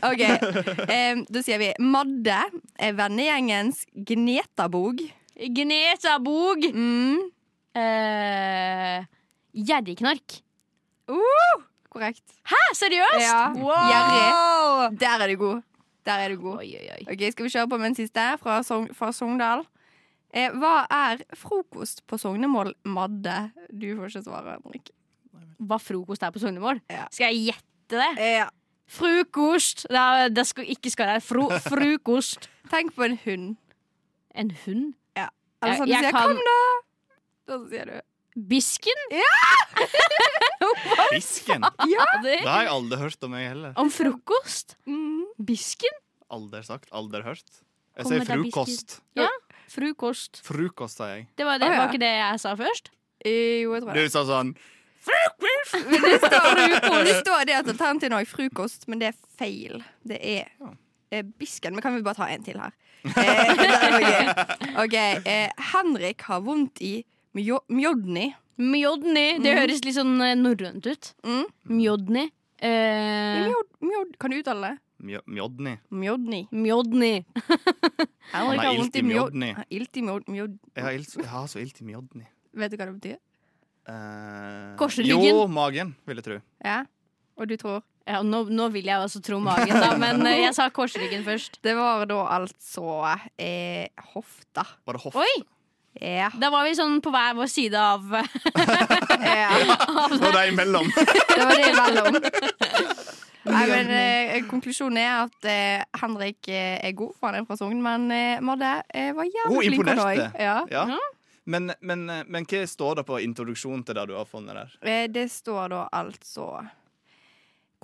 Ok, em, Da sier vi Madde er vennegjengens gnetabog. Gnesabog. Mm, Eh, Gjerrigknark. korrekt. Hæ, seriøst? Ja. Wow. Gjerrig. Der er du god. Der er du god. Oi, oi, oi. Ok, Skal vi kjøre på med en siste fra, Sogn fra Sogndal? Eh, hva er frokost på sognemål, Madde? Du får ikke svare, Henrik. Hva frokost er på sognemål? Ja. Skal jeg gjette det? Eh, Ja. Frokost! Det, er- det skal ikke skal være fro, frokost. Tenk på en hund. En hund? Eller Jeg- sånn, du jeg sier, kan- 'kom, da'. Da sier du Bisken? Fisken? Det har jeg aldri hørt om, jeg heller. Om frokost? mm. Bisken? Aldri sagt, aldri hørt. Jeg Kommer sier det frukost. Frokost. Frukost, sier jeg. Det var, det, Å, ja. var ikke det jeg sa først? Eh, Jo, jeg tror Du det. sa sånn Frokost. Det står det at alternativet nå er frokost, men det er feil. Det er eh, bisken. Men kan vi bare ta en til her? Eh, det var gøy. OK. Eh, Henrik har vondt i mjo- mjodni. Mjodni. Det høres litt sånn eh, norrønt ut. Mm. Mjodni. Eh, Mjod, mjod, kan du uttale det? Mjo- Mjodni. Mjodni. Mjodni. Henrik har har ilt vondt i i mjodni. mjodni. Ilt i mjod, mjod... Jeg har, ilt, jeg har så ilt i mjodni. Vet du hva det betyr? Eh, Korsryggen. Jo, magen, vil jeg tro. Ja. Og du tror? Ja, nå, nå vil jeg også tro magen, da, men eh, jeg sa korsryggen først. Det var da altså eh, hofta. Var det hoff? Oi! Ja. Da var vi sånn på hver vår side av ja. Og det er imellom. Det var det imellom. Nei, men eh, Konklusjonen er at eh, Henrik eh, er god, for han er fra Sogn, men eh, Madde eh, var Hun jævlig flink. imponerte. også. Ja. Ja. Men, men, men hva står det på introduksjonen til det du har funnet der? Eh, det står da altså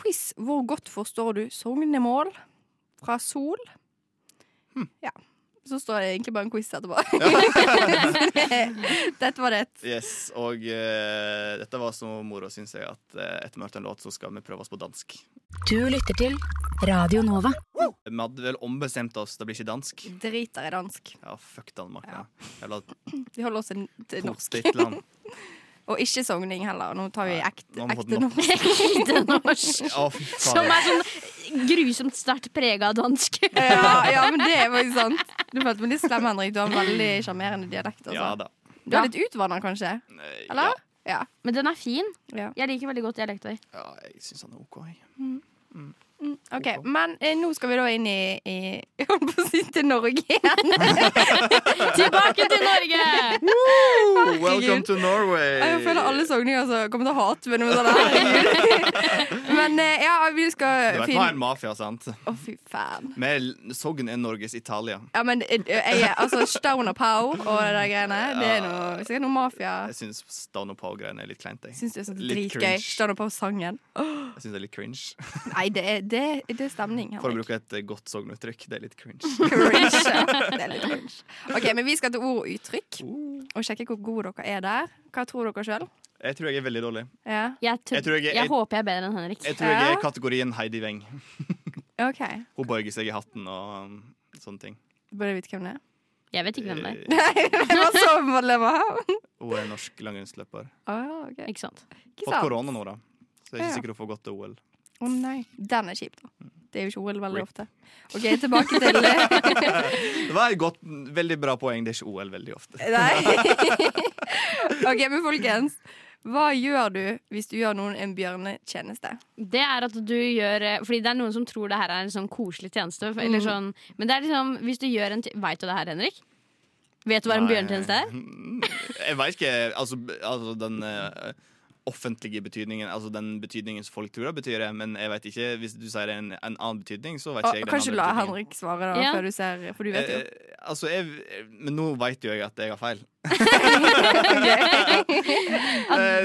Quiz Hvor godt forstår du sognemål? Fra Sol. Hm. Ja. Så står det egentlig bare en quiz etterpå. Dette var det. Yes, og eh, dette var så moro, syns jeg, at eh, etter vi har hørt en låt, så skal vi prøve oss på dansk. Du lytter til Radio Nova. Vi hadde vel ombestemt oss, det blir ikke dansk. Driter i dansk. Ja, fuck Danmark. Ja. Jævla Vi holder oss til til norsk. potetland. Og ikke sogning heller. Nå tar vi Nei, nå ekte, har vi fått ekte nok. ekte eh, norsk. norsk. Å, fy faen. Som er sånn grusomt sterkt prega av dansk. Ja, ja, men det er faktisk sant. Du følte meg litt slem, Henrik. Du har en veldig sjarmerende dialekt. Altså. Ja da. Du er litt utvanna, kanskje? Eh, Eller? Ja. Ja. Ja. Men den er fin. Ja. Jeg liker veldig godt dialekta di. Ja, jeg syns han er OK. jeg. Ok, Men eh, nå skal vi da inn i, i Jeg holdt på å si til Norge igjen. Tilbake til Norge! Welcome to Norway! Jeg føler alle sogninger som kommer til å hate meg nå. sånn, herregud. Men eh, ja, vi Du skal vet, nå er finne en mafia, sant? Å, fy faen. Med Sogn er Norges Italia. Ja, men eh, jeg er altså Stoner Pow og det der greiene. Det er noe, sikkert noe mafia. Jeg syns Stan og Pau-greiene er litt kleint. Jeg, Syns det er sånn Litt dritgøy. cringe. Stoner Pow-sangen. jeg synes det er litt cringe. Nei, det er, det, det er stemning. For å Henrik. bruke et eh, godt sognuttrykk. Det er litt cringe. Cringe. ja. Det er litt cringe. Ok, men vi skal til ord og uttrykk Uh. og sjekke hvor gode dere er der. Hva tror dere sjøl? Jeg tror jeg er veldig dårlig. Ja. Jeg, tror, Jeg tror jeg- jeg, jeg- håper jeg er bedre enn Henrik. Jeg tror jeg er Ja. kategorien Heidi Weng. OK. Hun bøyer seg i hatten og um, sånne ting. Burde jeg vite hvem det er? Jeg vet ikke hvem det er. Eh, Det var så medlem av. Hun er norsk langrennsløper. Å, Eh, ok. Ikke sant? Ikke Fått sant? korona nå, da. Så jeg er Ja. ikke sikker hun får gått til OL. Å nei. Den er kjip, da. Det er jo ikke OL veldig Rip. ofte. OK, tilbake til eh, Det var et godt, veldig bra poeng. Det er ikke OL veldig ofte. Nei. OK, men folkens. Hva gjør du hvis du gjør noen en bjørnetjeneste? Det er at du gjør eh, Fordi det er noen som tror det her er en sånn koselig tjeneste. for- Eller sånn, men det er liksom Hvis du gjør en Veit du det her, Henrik? Vet du hva en Nei. bjørnetjeneste er? Jeg veit ikke. Altså, b- altså den eh, offentlige betydningen, altså den betydningen som folk tror det betyr, det, men jeg vet ikke. Hvis du sier en, en annen betydning, så vet Og, Ah, ikke jeg den kanskje andre la betydningen. Henrik svare, da, Ja. før du ser, for du vet jo. Eh, altså, jeg, men nå veit jo jeg at jeg har feil. At,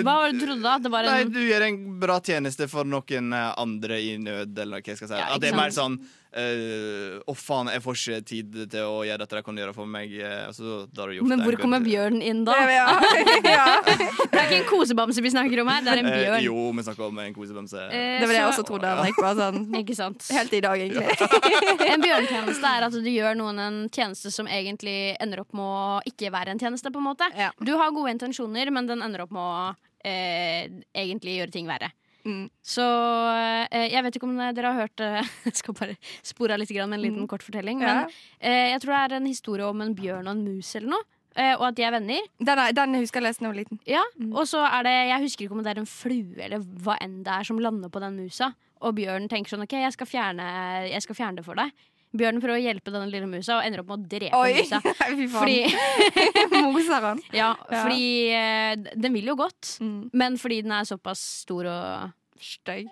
hva var det du trodde da? At det var Eh, Nei, en du gjør en bra tjeneste for noen eh, andre i nød, eller hva jeg skal si. Ja, ikke at det er mer sånn eh, Å, faen, jeg får ikke tid til å gjøre dette de kan gjøre for meg. eh, altså, da har du gjort Men det hvor en kommer god- bjørnen inn da? Ja, ja. Det er ikke en kosebamse vi snakker om her, det er en Eh, bjørn. jo, vi snakker om en kosebamse. Eh, Det var det jeg så- også trodde. Henrik, bare sånn, Ikke sant. helt i dag, egentlig. En bjørnetjeneste er at du gjør noen en tjeneste som egentlig ender opp med å ikke være en tjeneste, på en måte. Ja. Du har gode intensjoner, men den ender opp med å eh, egentlig gjøre ting verre. Mm. Så eh, jeg vet ikke om dere har hørt eh, Jeg skal bare spore av litt grann med en liten kort fortelling. Mm. Ja. Men eh, jeg tror det er en historie om en bjørn og en mus eller noe. eh, Og at de er venner. Den, er, den jeg husker jeg leste da jeg var liten. Ja, Mm. Og så er det Jeg husker ikke om det er en flue eller hva enn det er som lander på den musa. Og bjørnen tenker sånn OK, jeg skal fjerne, jeg skal fjerne det for deg. Bjørnen prøver å hjelpe denne lille musa og ender opp med å drepe Oi! musa. Nei, fy faen. Fordi, Moser han. ja, Ja. fordi eh, den vil jo godt, Mm. men fordi den er såpass stor og Støy.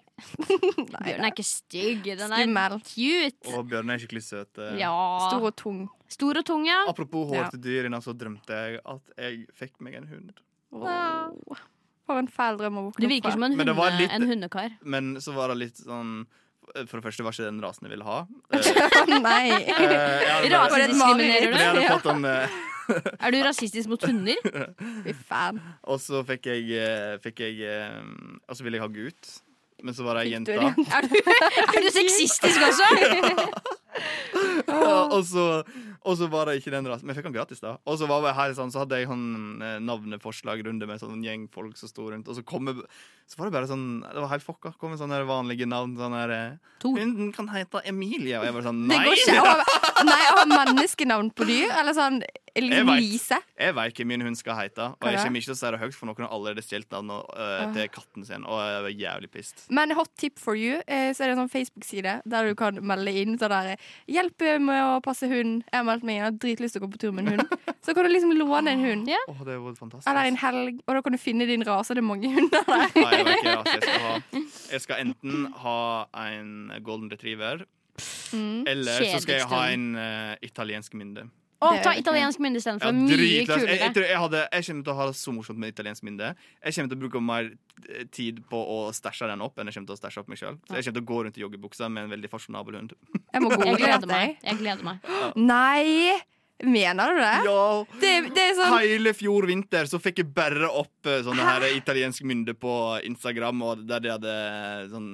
Bjørnen er ikke stygg, den er Skummel. cute. Og bjørnen er skikkelig søt. eh. Ja. Stor og tung. Stor og tung, ja. Apropos Ja. hår til dyr, innan så drømte jeg at jeg fikk meg en hund. Wow. For en fæl drøm å våkne Du virker som en, Men det var hunde, litt- en hundekar. Men så var det litt sånn For det første var ikke den rasen jeg ville ha. Eh, som Nei. eh, jeg hadde bare- Rase- Rasediskriminerer Men jeg du? hadde fått en eh, Er du rasistisk mot hunder? Fy faen. Og så fikk jeg, eh, fikk jeg eh, Og så ville jeg ha gutt, men så var det ei Fikk du jente. det? Er du, er du sexistisk også? Og og så, og så var det ikke den rasen. Men jeg fikk han gratis, da. Og så var vi her sånn, så hadde jeg sånn eh, navneforslagrunde med sånn gjeng folk som sto rundt. Og så, kom, jeg- så var det bare sånn Det var helt fucka. Kom med sånne her vanlige navn. Sånn her eh, Tor. Hunden kan hete Emilie. Og jeg var sånn Det Nei! går ikke å ha, nei, å ha menneskenavn på dyr. Eller sånn Jeg liksom vet. Lise. Jeg vet ikke min hund skal hete. Og Hva jeg da? kommer ikke til å si det høyt, for noen har allerede stjålet navnet eh, til katten sin. Og jeg var jævlig pissed. Men hot tip for you, eh, så er det en sånn Facebook-side der du kan melde inn sånn der eh, 'Hjelp med å passe hund'. Jeg har meldt meg inn, jeg har dritlyst til å gå på tur med en hund. Så kan du liksom låne en hund. Ja. Åh, det var fantastisk. Eller en helg, og da kan du finne din rase. Det er mange hunder der. Nei, jeg vet ikke hva jeg skal ha. Jeg skal enten ha en golden retriever, Mm. eller så skal jeg ha en eh, italiensk mynde. Å, Det er ta det ikke. italiensk mynde istedenfor. Ja, Mye dritklass. jeg, jeg, kulere. tror jeg, hadde, jeg kommer til å ha det så morsomt med italiensk mynde. Jeg kommer til å bruke mer eh, tid på å stæsje den opp enn jeg kommer til å stæsje opp meg sjøl. Så jeg kommer til å gå rundt i joggebuksa med en veldig fasjonabel hund. Jeg må Jeg google gleder dette. meg. jeg. Jeg gleder meg. Nei! Mener du det? Ja, Det, det er sånn Hele fjor vinter så fikk jeg bare opp eh, sånne her italiensk mynde på Instagram, og der de hadde sånn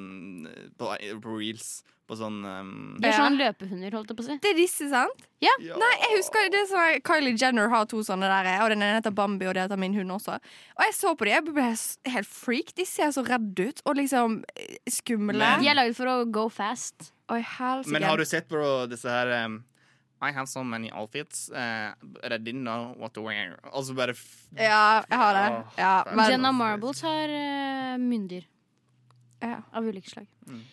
eh, På, på reels. På sånn eh, Du er Ja. sånn løpehunder, holdt jeg på å si. Det er disse, sant? ja. Nei, jeg husker det er sånn Kylie Jenner har to sånne der, og den ene heter Bambi, og det heter min hund også. Og jeg så på dem, jeg ble s- helt freak. De ser så redde ut, og liksom eh, skumle. Men- De er laget for å go fast. Oi, helsike. Men har du sett på disse her um, I have so many outfits, eh, but I didn't know what to wear. Og så bare f Ja, jeg har det. Åh, Ja, faen. men, Jenna Marbles har eh, mynndyr ja. av ulike slag. Mm.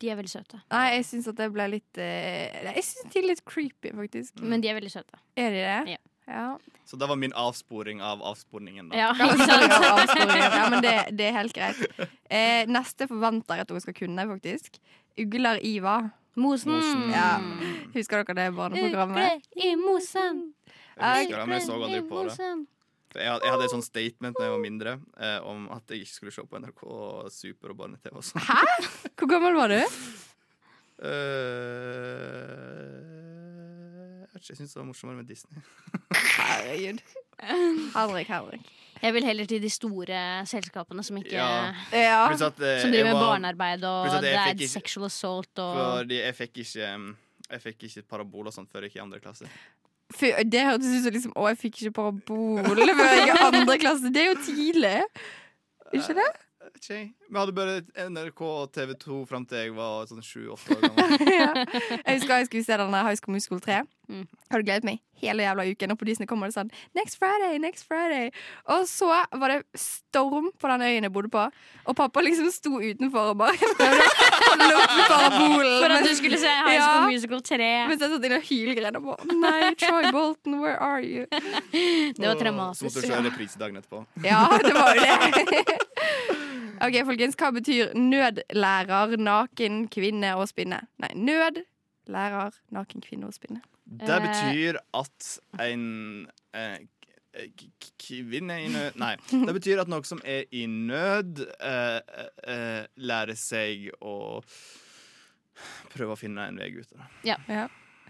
De er veldig søte. Nei, jeg syns at det ble litt eh, nei, Jeg syns de er litt creepy, faktisk. Men de er veldig søte. Er de det? Ja. ja. Så det var min avsporing av avsporingen. da. Ja, Ja, ikke sant? ja, men det, det er helt greit. Eh, neste forventer jeg at hun skal kunne, faktisk. Ugler Iva. Mosen. Mosen. Ja. Mm. Husker dere det barneprogrammet? Ugle i mosen. Jeg husker det, men jeg så Ugle aldri i på det. mosen. For Jeg hadde, jeg hadde et sånt statement da jeg var mindre eh, om at jeg ikke skulle se på NRK Super og Barne-TV. og sånn. sånt. Hvor gammel var du? Eh, jeg vet ikke, jeg syns det var morsommere med Disney. Herregud. Henrik, Henrik. Jeg vil heller til de store selskapene som ikke Ja. Ja. Pluss at, eh, Som driver jeg med var- barnearbeid og Pluss at jeg det fikk er ikke- sexual assault og Fordi jeg fikk ikke um, jeg fikk ikke parabol og sånt før jeg gikk i andre klasse. Fy, det hørtes ut som liksom, å, jeg fikk ikke parabol før jeg gikk i andre klasse. Det er jo tidlig. Jeg Ikke det? vet Eh, ikke, jeg. Vi hadde bare NRK og TV 2 fram til jeg var sånn sju-åtte år gammel. Ja. Jeg husker jeg skulle se den der High School Musical 3. Mm. Hadde gledet meg hele jævla uken, og på Disney kommer det sånn Next Friday, next Friday. Og så var det storm på den øyen jeg bodde på, og pappa liksom sto utenfor og bare prøvde å holde opp med parabolen. For at du mens- skulle se High Ja. School Musical 3. Mens jeg satt inne og hylgrein og bare Nei, Troy Bolton, where are you? Det var Så måtte traumatisk. jeg se reprise dagen etterpå. Ja, det var jo det. OK, folkens. Hva betyr nødlærer, naken kvinne og spinne? Nei, nød, lærer, naken kvinne og spinne. Eh, Det betyr at en eh, k- k- kvinne i nød Nei. Det betyr at noe som er i nød, eh, eh, eh, lærer seg å prøve å finne en vei ut av det.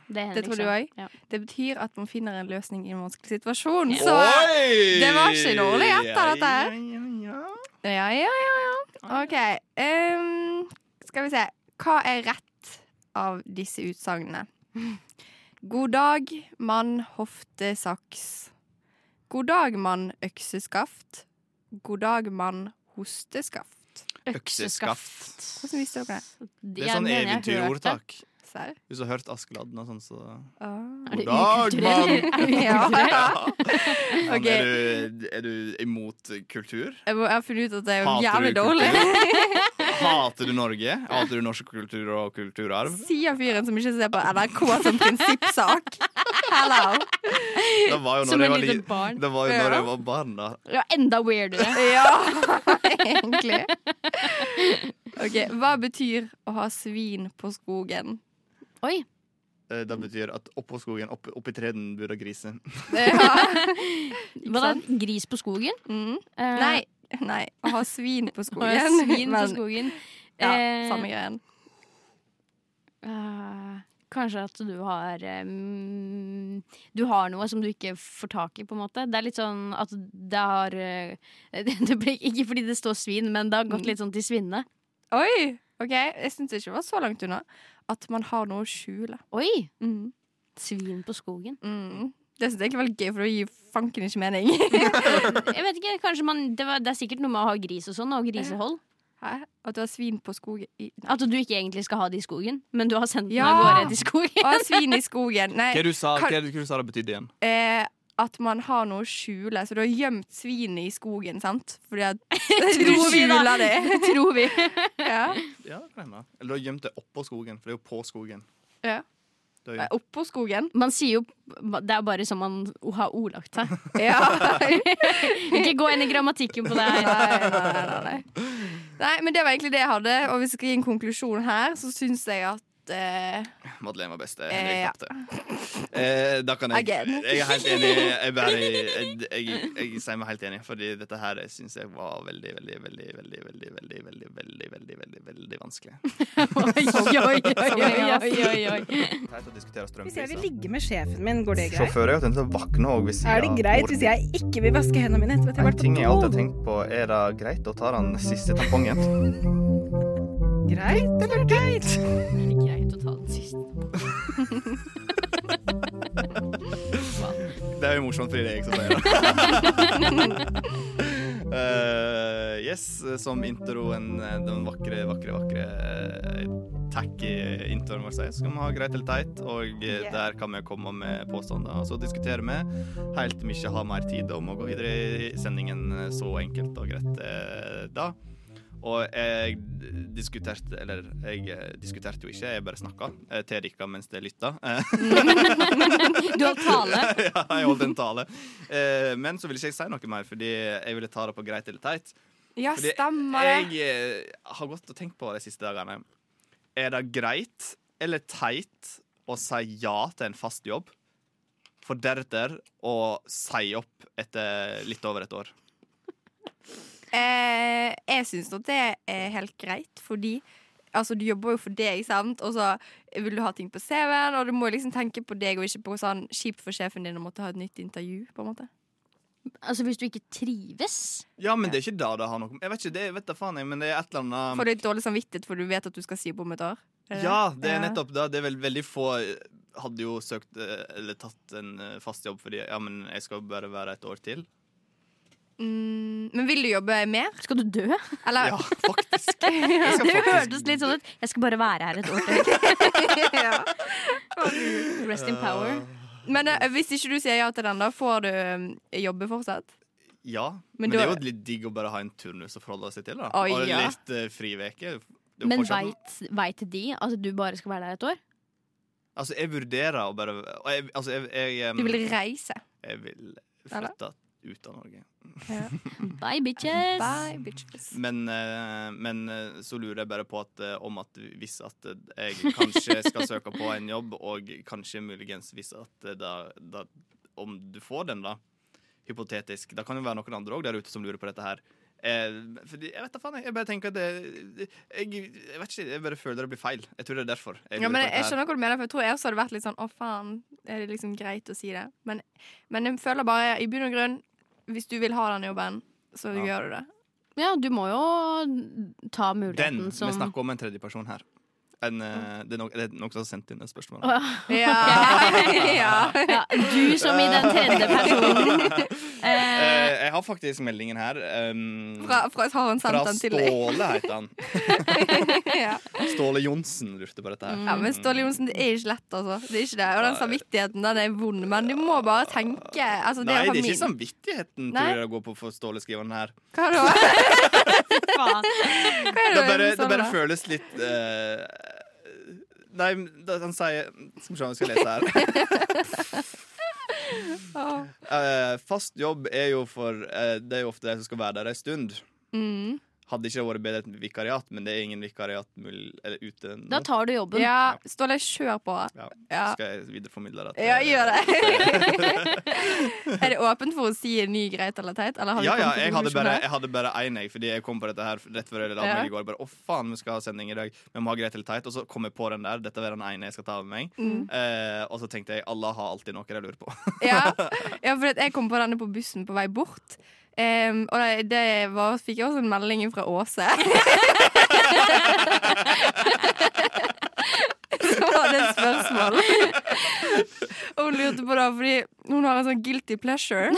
Det, Det tror du Henrik også? sa. Ja. Det betyr at man finner en løsning i en vanskelig situasjon. Så Oi! det var ikke dårlig gjett, da, dette her. Ja, ja, ja. Ja, ja, ja. ja. OK. ehm, skal vi se. Hva er rett av disse utsagnene? God dag, mann, hofte, saks. God dag, mann, økseskaft. God dag, mann, hosteskaft. Økseskaft. Hvordan visste dere det? Det er sånn eventyrordtak. Serr? Hvis du har hørt Askeladden og sånn, så Ah. Er det God dag, ukulturell? mann! Ja. Ja, men Ok. Er, du, er du imot kultur? Jeg, må, jeg har funnet ut at det er Hater jævlig du dårlig. Hater du Norge? Hater du norsk kultur og kulturarv? Sier fyren som ikke ser på NRK som prinsippsak. Hello. Det var jo Som når jeg en var, liten li- barn. det var, jo når Ja. jeg var barn, da. Ja, enda weirdere. Ja, egentlig. Ok, Hva betyr å ha svin på skogen? Oi. Eh, Det betyr at oppå skogen, opp, oppi treden, bor det griser. Ja. Var det gris på skogen? Mm. Eh, Nei, nei, å ha svin på og det er skogen. Svin på Men- skogen. Ja, Eh, samme greien. eh, kanskje at du har eh, mm, Du har noe som du ikke får tak i, på en måte. Det er litt sånn at det har eh, det ble, Ikke fordi det står svin, men det har Mm. gått litt sånn til svinne. Oi! ok, Jeg syns ikke det var så langt unna. At man har noe å skjule. Oi! Mm. Svin på skogen. Mm. Det syns jeg egentlig var litt gøy, for det gir fanken ikke mening. Jeg vet ikke, kanskje man det, var, det er sikkert noe med å ha gris og sånn, og grisehold. Hæ? At du har svin på skogen i nei. At du ikke egentlig skal ha det i skogen, men du har sendt den av Ja. gårde til skogen. Å ha svin i skogen. Nei, du sa, hva det betydde igjen? eh, at man har noe å skjule. Så du har gjemt svinet i skogen, sant? Fordi at du Tror vi, da. skjuler det. Tror vi. ja. Ja, det kan hende. Eller du har gjemt det oppå skogen, for det er jo på skogen. Ja. Du har gjemt- Nei, Eh, Oppå skogen. Man sier jo Det er bare som man har ordlagt seg. Ja. nei, Ikke gå inn i grammatikken på det her. nei, nei, nei. nei, men det var egentlig det jeg hadde. Og hvis jeg skal gi en konklusjon her, så syns jeg at eh, Madeleine var best. Eh, Henrik ja. tapte. Eh, da kan jeg Again. Jeg er helt enig. Jeg, bare, jeg, jeg, jeg sier meg helt enig, Fordi dette her syns jeg var veldig, veldig, veldig, veldig, veldig, veldig, veldig, veldig, veldig, veldig, veldig vanskelig. Oi, oi, oi, oi, oi, oi. Teit å diskutere Hvis jeg vil ligge med sjefen min, går det greit? Sjåfører er jo tenkt å våkne òg hvis Er det greit hvis jeg ikke vil vaske hendene mine etter at jeg har vært på do? tenkt på, er det greit å ta den siste tampongen? Greit eller teit? Greit å ta den siste. Det er jo morsomt fordi det er jeg som sier det. Eh, yes, som introen, den vakre, vakre, vakre tacky introen vår er, så kan vi ha greit eller teit, og eh, Yeah. der kan vi komme med påstander. Og så diskuterer vi helt til vi ikke har mer tid om å gå videre i sendingen eh, så enkelt og greit eh, da. Og jeg diskuterte Eller jeg eh, diskuterte jo ikke, jeg bare snakka eh, til dere mens dere lytta. Eh, Du har tale. ja, jeg holdt en tale. Eh, Men så ville ikke jeg si noe mer, fordi jeg ville ta det på greit eller teit. Ja, Fordi stemmer det. jeg eh, har gått og tenkt på de siste dagene. Er det greit eller teit å si ja til en fast jobb, for deretter å si opp etter litt over et år? Eh, jeg syns at det er helt greit, fordi altså, du jobber jo for deg, sant, og så vil du ha ting på CV-en, og du må liksom tenke på deg, og ikke på sånn kjipt for sjefen din å måtte ha et nytt intervju, på en måte. Altså, hvis du ikke trives Ja, men det er ikke det det har noe Jeg vet ikke, det vet da faen jeg, men det er et eller annet Får du litt dårlig samvittighet, for du vet at du skal si opp om et år? Eh, Er det Ja, det er Ja. nettopp det. Det er vel veldig få eh, hadde jo søkt eh, eller tatt en eh, fast jobb fordi ja, men jeg skal bare være et år til. Mm, men vil du jobbe mer? Skal du dø? Eller Ja, faktisk. Jeg skal Det faktisk- hørtes litt sånn ut. Jeg skal bare være her et år til. Ja. Rest in power. Men eh, hvis ikke du sier ja til den, da får du mm, jobbe fortsatt? Ja, men, Men det da- er jo litt digg å bare ha en turnus å forholde seg til. da Å, Og ja. litt uh, friveke. Det er jo Men fortsatt- veit veit de at du bare skal være der et år? Altså, jeg vurderer å bare og jeg, Altså, jeg, jeg, em, Du vil reise? jeg vil Eller? flytte ut av Norge. Bye, bitches! Bye, bitches. Men, eh, men eh, så lurer jeg bare på at eh, om at hvis at eh, jeg kanskje skal søke på en jobb, og kanskje muligens hvis at eh, da, da Om du får den, da, hypotetisk Det kan jo være noen andre òg der ute som lurer på dette her. Eh, fordi, jeg vet da faen, jeg, jeg bare tenker at det jeg, jeg vet ikke, jeg bare føler det blir feil. Jeg tror det er derfor. jeg Ja, lurer men på jeg, dette jeg her. skjønner hva du mener, for jeg tror jeg også hadde vært litt sånn Å, faen, er det liksom greit å si det? Men, men jeg føler bare, i bunn og grunn, hvis du vil ha den jobben, så Ja. gjør du det. Ja, du må jo ta muligheten Den, som Vi snakker om en tredjeperson her. En, eh, det er no- det er noen som har sendt inn et spørsmål. eh. Å, Ja. ja. ja, Du som i den tredje personen. Eh, Eh, jeg har faktisk meldingen her. ehm, em, Fra, fra har hun sendt fra den til deg? Ståle, heter han. ja. Ståle Johnsen lurte på dette her. Mm. ja, men Ståle Johnsen, det er ikke lett, altså. Det er ikke det. Og den samvittigheten, den er vond, men du må bare tenke. Altså, det Nei, å ha det er ikke sånn. min- samvittigheten Nei. tror jeg det går på for Ståle skriver den her. Hva da? faen. Hva er Det det? bare, Sånn det bare da? føles litt eh, Nei, da- han sier Skal vi se om jeg skal lese her. Åh. Eh, fast jobb er jo for eh, Det er jo ofte de som skal være der ei stund. Mm. Hadde ikke det vært bedre et vikariat, men det er ingen vikariat mul- eller ute nå. Da tar du jobben. Ja, Ståle, kjør på. Ja. Ja. Skal jeg videreformidle det? til- Ja, gjør det. er det åpent for å si en ny greit eller teit? Eller har vi Ja, ja, kommet jeg hadde bare til konklusjonen jeg hadde bare én, jeg, fordi jeg kom på dette her rett før jeg la Ja. meg i går. Bare, å faen, vi skal ha sending i dag, vi må ha greit eller teit. Og så kom jeg på den der. Dette var den ene jeg skal ta med meg. Mm. Eh, og så tenkte jeg alle har alltid noe de lurer på. Ja, ja for at jeg kom på denne på bussen på vei bort. Em, og det, det var, fikk jeg også en melding fra Åse. Så var det et spørsmål. Og hun lurte på det fordi hun har en sånn guilty pleasure.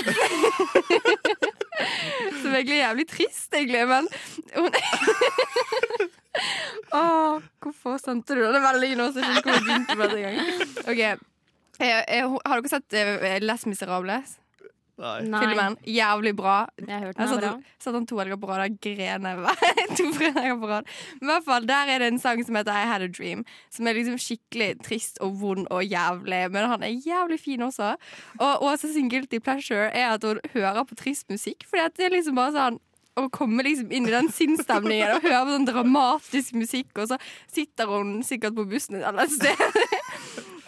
Som egentlig er jævlig trist, egentlig, men hun Åh, hvorfor sendte du denne meldingen nå? Så jeg skjønner ikke hvor jeg begynte med det engang. Ok, Eh, eh, har dere sett eh, Les Miserables? Nei. Nei, Filmen. Jævlig bra. jeg har hørt Jeg den er satt, bra. satt han to helger på rad og gren jeg var. to fredager på rad. Men i hvert fall, Der er det en sang som heter I Had a Dream, som er liksom skikkelig trist og vond og jævlig. Men han er jævlig fin også. Og Åse sin guilty pleasure er at hun hører på trist musikk. Fordi at det er liksom bare sånn å komme liksom inn i den sinnsstemningen og høre på sånn dramatisk musikk, og så sitter hun sikkert på bussen et annet sted.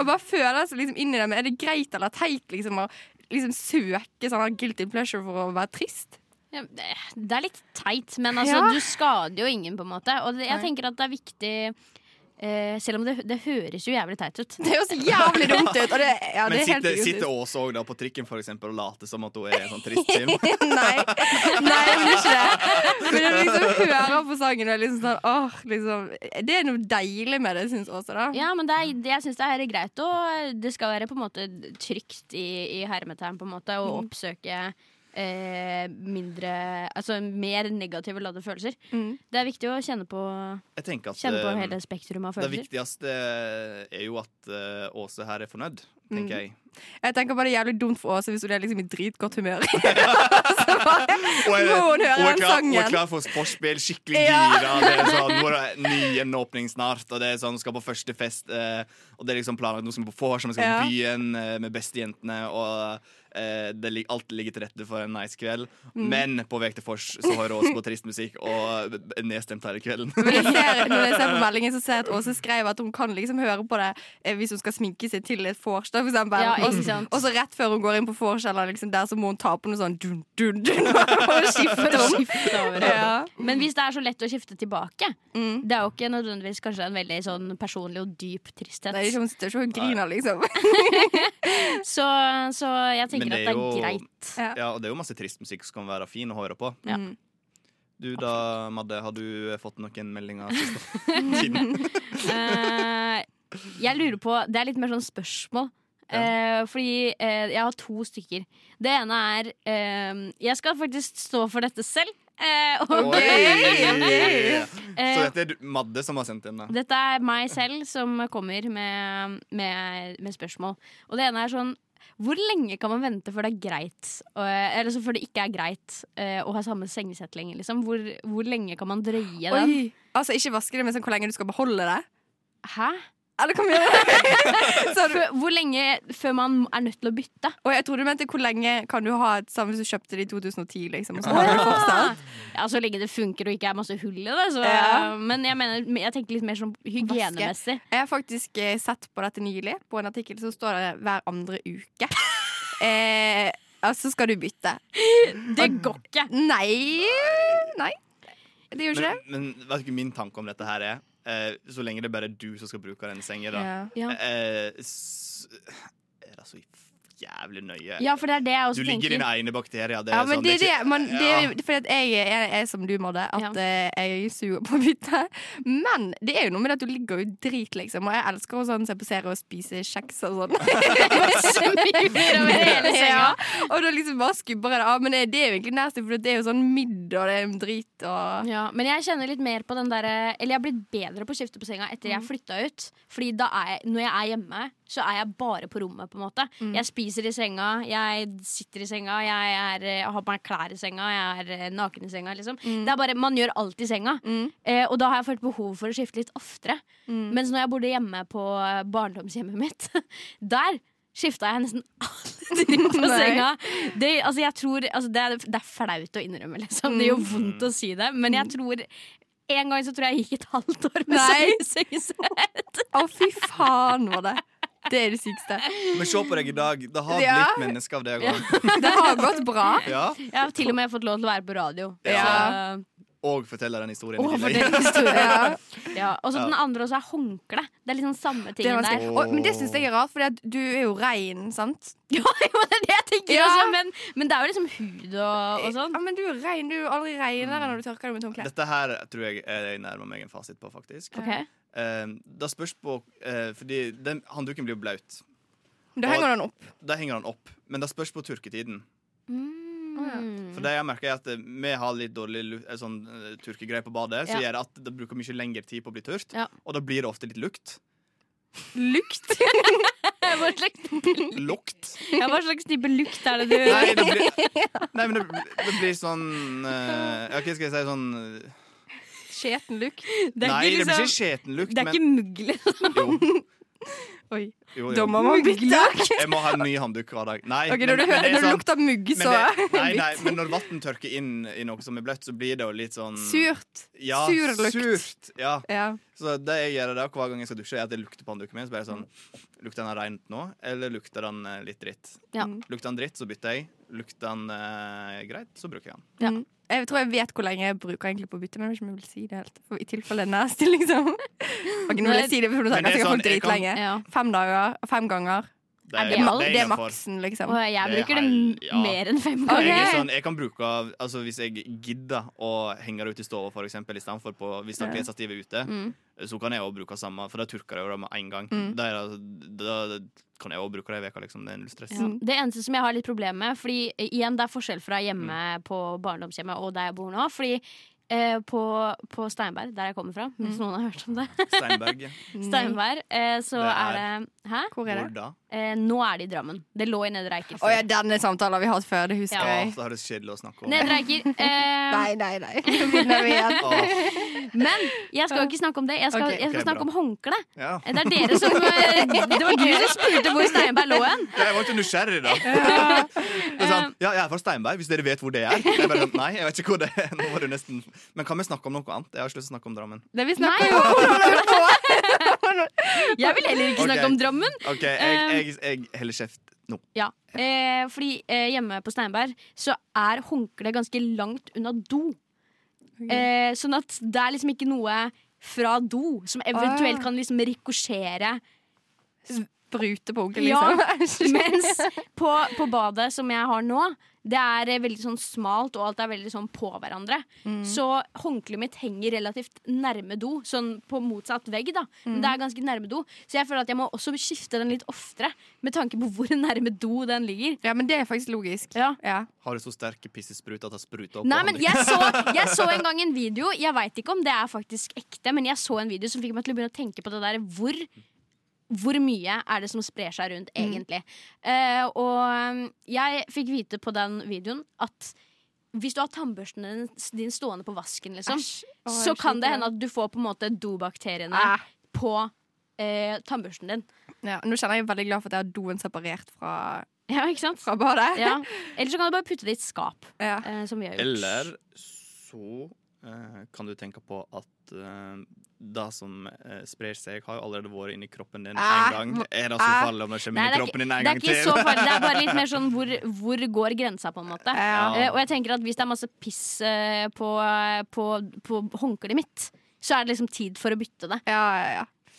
Og bare føler seg liksom inn i det. Men er det greit eller teit liksom å liksom søke sånn guilty pleasure for å være trist? Ja, det- Det er litt teit, men altså, Ja. du skader jo ingen, på en måte. Og det, jeg Nei. tenker at det er viktig eh, Selv om det, det høres jo jævlig teit ut. Det høres jævlig dumt ut. Og det, ja, det Men er helt sitter, idiotisk. sitter Åse òg da på trikken for eksempel, og later som at hun er i en sånn trist film? Nei, nei, hun gjør ikke det. Men jeg liksom hører på sangen og er liksom sånn åh, liksom Det er noe deilig med det, syns Åse, da. Ja, men det er, det, jeg syns det er Mm. greit, og det skal være på en måte trygt i, i hermetegn, på en måte, å oppsøke eh, mindre Altså mer negative ladde følelser. Mm. Det er viktig å kjenne på, Jeg tenker at kjenne på eh, hele spektrumet av det følelser. viktigste er jo at eh, Åse her er fornøyd, Mm. tenker jeg. Jeg tenker bare det er jævlig dumt for Åse hvis hun er liksom i dritgodt humør. Så bare, Og jeg, Må hun og høre jeg den klar, sangen? Og er klar for sportsspill, skikkelig Ja. gira. Det er sånn, hvor er ny gjenåpning snart, og det er sånn, skal på første fest. eh, og det er liksom planlagt noe som er på vors, som skal Ja. på byen eh, med bestejentene. Og eh, det, lig- alt ligger til rette for en nice kveld. Mm. Men på vei til vors så hører Åse på trist musikk og er nedstemt hele kvelden. Men jeg ser, når jeg ser på meldingen, så ser jeg at Åse skrev at hun kan liksom høre på det eh, hvis hun skal sminke seg til et vors, da, for eksempel. Ja, og, ikke sant. og så rett før hun går inn på vors, eller liksom der, så må hun ta på noe sånn dun, dun, dun, og skifte om. Ja. Mm. Men hvis det er så lett å skifte tilbake Det er jo ikke nødvendigvis kanskje en veldig sånn personlig og dyp tristhet. Det er ikke hun sitter ikke og griner, liksom. Så, så jeg Men tenker det at det er er jo- greit. Ja. Ja, og det er jo masse trist musikk som kan være fin å høre på. Ja. Mm. Du da, Madde, har du eh, fått noen meldinger? siste tiden? Eh, jeg lurer på Det er litt mer sånn spørsmål. Eh, fordi eh, jeg har to stykker. Det ene er eh, Jeg skal faktisk stå for dette selv. Eh, og- Oi! Så Eh, dette er du- Madde som har sendt inn det. dette er meg selv som kommer med, med, med spørsmål. Og det ene er sånn Hvor lenge kan man vente før det er greit eh, Eller så før det ikke er greit eh, å ha samme sengesett lenger? Liksom. Hvor, hvor lenge kan man drøye den? Oi. Altså, ikke vaske det, men sånn hvor lenge du skal beholde det. Hæ? Eller hva mener du? Så du- Før, hvor lenge før man er nødt til å bytte? Og jeg tror du mente hvor lenge kan du ha et sammen hvis du kjøpte det i 2010, liksom. Og så har du fortsatt. Ah. Ja, Så lenge det funker og ikke er masse hull i det. Så, Ja. Men jeg, mener, jeg tenker litt mer sånn hygienemessig. Jeg har faktisk eh, sett på dette nylig. På en artikkel så står det hver andre uke. Eh, altså skal du bytte. Det går ikke! Nei Nei. Det gjør ikke det. Men, men vet du hva min tanke om dette her er? Eh, så lenge det er bare du som skal bruke den senga, da. Ja. Ja. Eh, s er det så jævlig nøye? Ja, for det er det jeg du også ligger i tenker. dine egne bakterier. Det er altså, Ja, men sånn, det er det. ikke- Man, det er, Ja. fordi at jeg er, jeg er som du, Madde, at eh, jeg suger på å bytte. Men det er jo noe med det at du ligger jo drit, liksom. Og jeg elsker å sånn, se på serier og spise kjeks og sånn. Smyger over hele senga. Ja, og da liksom bare skubber jeg det av. Men det, det er jo egentlig nasty, for det er jo sånn midd og det er drit og Ja, men jeg kjenner litt mer på den der Eller jeg har blitt bedre på å skifte på senga etter jeg flytta ut. Fordi da er jeg, når jeg er hjemme, så er jeg bare på rommet. på en måte Jeg spiser i senga, jeg sitter i senga, jeg, er, jeg har på meg klær i senga, jeg er eh, naken i senga. liksom Det er bare, Man gjør alt i senga. Eh, og da har jeg følt behov for å skifte litt oftere. Mens når jeg bodde hjemme på eh, barndomshjemmet mitt, der skifta jeg nesten aldri på Nei. senga. Det, altså jeg tror, altså det, er, det er flaut å innrømme, liksom. Det gjør vondt å si det. Men jeg tror en gang så tror jeg jeg gikk et halvt år med Mm. Nei. sengesett. Å, fy faen, var det. Det er det sykeste. Men se på deg i dag. Det har blitt Ja. menneske av deg òg. Det har gått bra. Ja. Jeg har til og med fått lov til å være på radio. Ja. Så, Og forteller den historien å, i for tillegg. den historien. Ja. Ja. Og så den andre også er håndkle. Det er liksom samme Det tingen er der. vanskelig. og, men det syns jeg er rart, for du er jo rein, sant? Ja, jo, det er det jeg tenker Ja. også, men, men det er jo liksom hud og, og sånn. Ja, men du er rein. Du er jo aldri reinere når du tørker deg med håndkle. Dette her tror jeg eh, jeg nærmer meg en fasit på, faktisk. Ok. Eh, da spørs på eh, Fordi den handduken blir jo blaut. Da henger den opp. Da henger den opp. Men det spørs på tørketiden. Mm. For det jeg merker er at eh, vi har litt dårlig lu- eh, sånn, eh, tørkegreier på badet, som Ja. gjør at det bruker mye lengre tid på å bli tørt. Ja. Og da blir det ofte litt lukt. Lukt. Hva slags, Lukt? ja, hva slags type lukt er det du Nei, det blir, nei men det, det blir sånn eh, OK, skal jeg si sånn eh, Skjeten lukt. Det er Nei, det ikke blir liksom- ikke skjeten lukt, Det er men ikke muggelig. jo, Oi. jo, Da jo. må man bytte. Jeg må ha en ny handduk hver dag. Nei, Ok, men- Når du, men hører, det er når du sånn- lukter mugg, men så det, nei, nei, men når vann tørker inn i noe som er bløtt, så blir det jo litt sånn Surt. Ja, sur lukt. Surt, ja. Ja. Så det jeg gjør da, hver gang jeg skal dusje, er at jeg lukter på håndduken min. Så bare sånn, Lukter den rent nå, eller lukter den eh, litt dritt? Ja. Mm. Lukter den dritt, så bytter jeg. Lukter den eh, greit, så bruker jeg den. Ja. Mm. Jeg tror jeg vet hvor lenge jeg bruker egentlig på å bytte, men jeg vet ikke om jeg vil si det helt. For I tilfelle det er nasty, liksom. Ok, nå vil jeg si det, for nå Men snakker det er jeg sikkert sånn, jeg dritlenge. Ja. Fem dager, fem ganger. Det Er det maks? Det er innenfor. maksen, liksom. Og jeg Det er bruker det hel- m- ja. mer enn fem Jeg, ganger. er sånn, jeg kan bruke av- altså Hvis jeg gidder å henge det ut i stua, for eksempel, i stedet for på, hvis det Ja. er stativet ute, Mm. så kan jeg også bruke samme, for da turker jeg jo det med en gang. Mm. Da, er det- da kan jeg også bruke det i veka, liksom. Det er null stress. Ja. Det eneste som jeg har litt problemer med Fordi eh, igjen, det er forskjell fra hjemme Mm. på barndomshjemmet og der jeg bor nå. Fordi eh, på, på Steinberg, der jeg kommer fra, hvis noen har hørt om det, Steinberg. Steinberg, eh, Det så er er- det Hæ? Hvor er Hvor det? da? Eh, nå er det i Drammen. Det lå i Nedre Eiker Å ja, denne samtalen har vi hatt før, det husker Ja. Ja, jeg. så har det så kjedelig å snakke om. Nedre Eiker. Eh, Nei, nei, nei. Begynner vi igjen. Åh, men jeg skal jo ikke snakke om det. Jeg skal, Ok, jeg skal ok, snakke bra. om håndkle. ja. Eh, Det er dere som eh, Det var du som spurte hvor Steinberg lå hen. Jeg var ikke nysgjerrig, da. Det er sånn, ja, jeg er fra Steinberg, hvis dere vet hvor det er. Jeg bare, sånn, Nei, jeg vet ikke hvor det er. Nå var du nesten Men kan vi snakke om noe annet? Jeg har ikke lyst til å snakke om Drammen. Det vi Nei, snakker om jeg vil heller ikke snakke Ok. om Drammen. OK, jeg, Um, jeg, jeg heller kjeft nå. Ja, eh, fordi eh, hjemme på Steinberg så er håndkleet ganske langt unna do. Eh, sånn at det er liksom ikke noe fra do som eventuelt Ah. kan liksom rikosjere. brute på onkel, Ja, liksom. Mens på, på badet som jeg har nå, det er eh, veldig sånn smalt, og alt er veldig sånn på hverandre. Så håndkleet mitt henger relativt nærme do, sånn på motsatt vegg, da. Men det er ganske nærme do, så jeg føler at jeg må også skifte den litt oftere, med tanke på hvor nærme do den ligger. Ja, men det er faktisk logisk. Ja. Ja. Har du så sterke pissespruter at det spruter opp? Nei, på men hånden? jeg så, jeg så en gang en video Jeg vet ikke om det er faktisk ekte Men jeg så en video som fikk meg til å begynne å tenke på det der Hvor, hvor mye er det som sprer seg rundt egentlig Eh, Og um, jeg fikk vite på den videoen At hvis du har tannbørsten din, din stående på vasken liksom, Æsj. Å, Så jeg kan det skjønner hende at du får på en måte dobakteriene Ah. På eh, tannbørsten din Ja, nå kjenner jeg meg veldig glad for at jeg har doen separert fra, Ja, ikke sant? fra badet. Ja. Eller så kan du bare putte det i et skap Ja. eh, Som vi har gjort Eller så eh, kan du tenke på at eh, det som eh, sprer seg, har jo allerede vært inni kroppen din én Ah, gang. Er det så ah. farlig om det kommer Nei, inn det i er, kroppen ikke, din en det gang er ikke til? så farlig. Det er bare litt mer sånn hvor, hvor går grensa, på en måte. Ja. Eh, og jeg tenker at hvis det er masse piss eh, på, på, på håndkleet mitt, så er det liksom tid for å bytte det. Ja, ja, ja.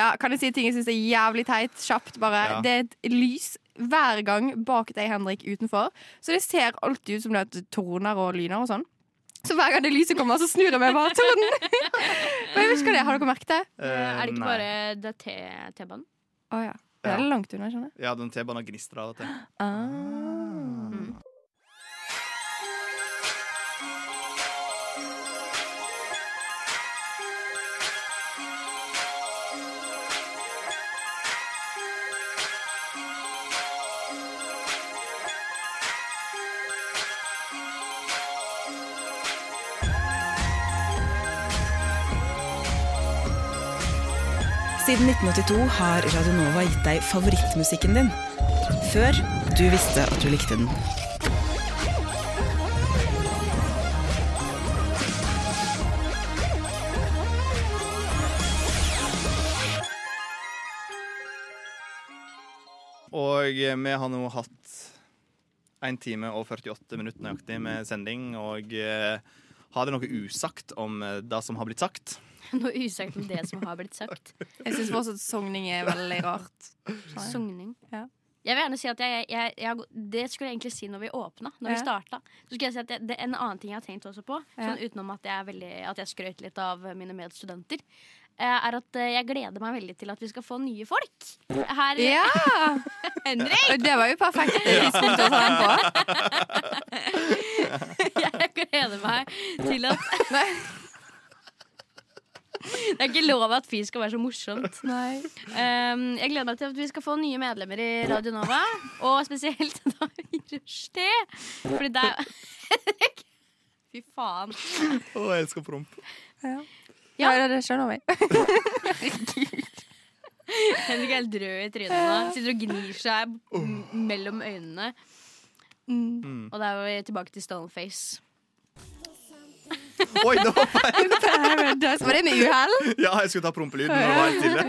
ja, kan jeg si ting jeg syns er jævlig teit? Kjapt, bare. Ja. Det er et lys hver gang bak deg, Henrik, utenfor. Så det ser alltid ut som det er torner og lyner og sånn. Så hver gang det lyset kommer, så snur jeg meg bare til den. Men jeg vet ikke hva det er. Har dere merket det? Eh, er det ikke nei. bare det er T- T-banen? Å ja. Det er Ja. langt unna, skjønner jeg. Ja, den T-banen gnistrer av og til. Ah. Mm. Siden 1982 har Radio Nova gitt deg favorittmusikken din. Før du visste at du likte den. Og eh, vi har nå hatt 1 time og 48 minutter nøyaktig med sending, og eh, har det noe usagt om eh, det som har blitt sagt? Noe usagt om det som har blitt sagt. Jeg syns fortsatt sogning er veldig rart. Sogning. Ja. Jeg vil gjerne si at jeg, jeg, jeg, Det skulle jeg egentlig si når vi åpna. Når vi Ja. starta. Så skulle jeg si at det, det er en annen ting jeg har tenkt også på, Ja. sånn utenom at jeg, er veldig, at jeg skrøt litt av mine medstudenter, eh, er at eh, jeg gleder meg veldig til at vi skal få nye folk. Her, Ja! Henrik! Og det var jo perfekt. altså. Det vi skulle ta den på. Jeg gleder meg til at Det er ikke lov at fy skal være så morsomt. Nei. Um, jeg gleder meg til at vi skal få nye medlemmer i Radio Nova. Og spesielt da i Rushtid. Fordi det er Fy faen. Å, jeg elsker promp. Ja, det, det skjønner vi. Henrik er helt rød i trynet nå. Sitter og gnir seg m- mellom øynene. Og da er vi tilbake til Stoneface. Oi, det var feil! Var det med uhell? Ja, jeg skulle ta prompelyden. men det var helt stille.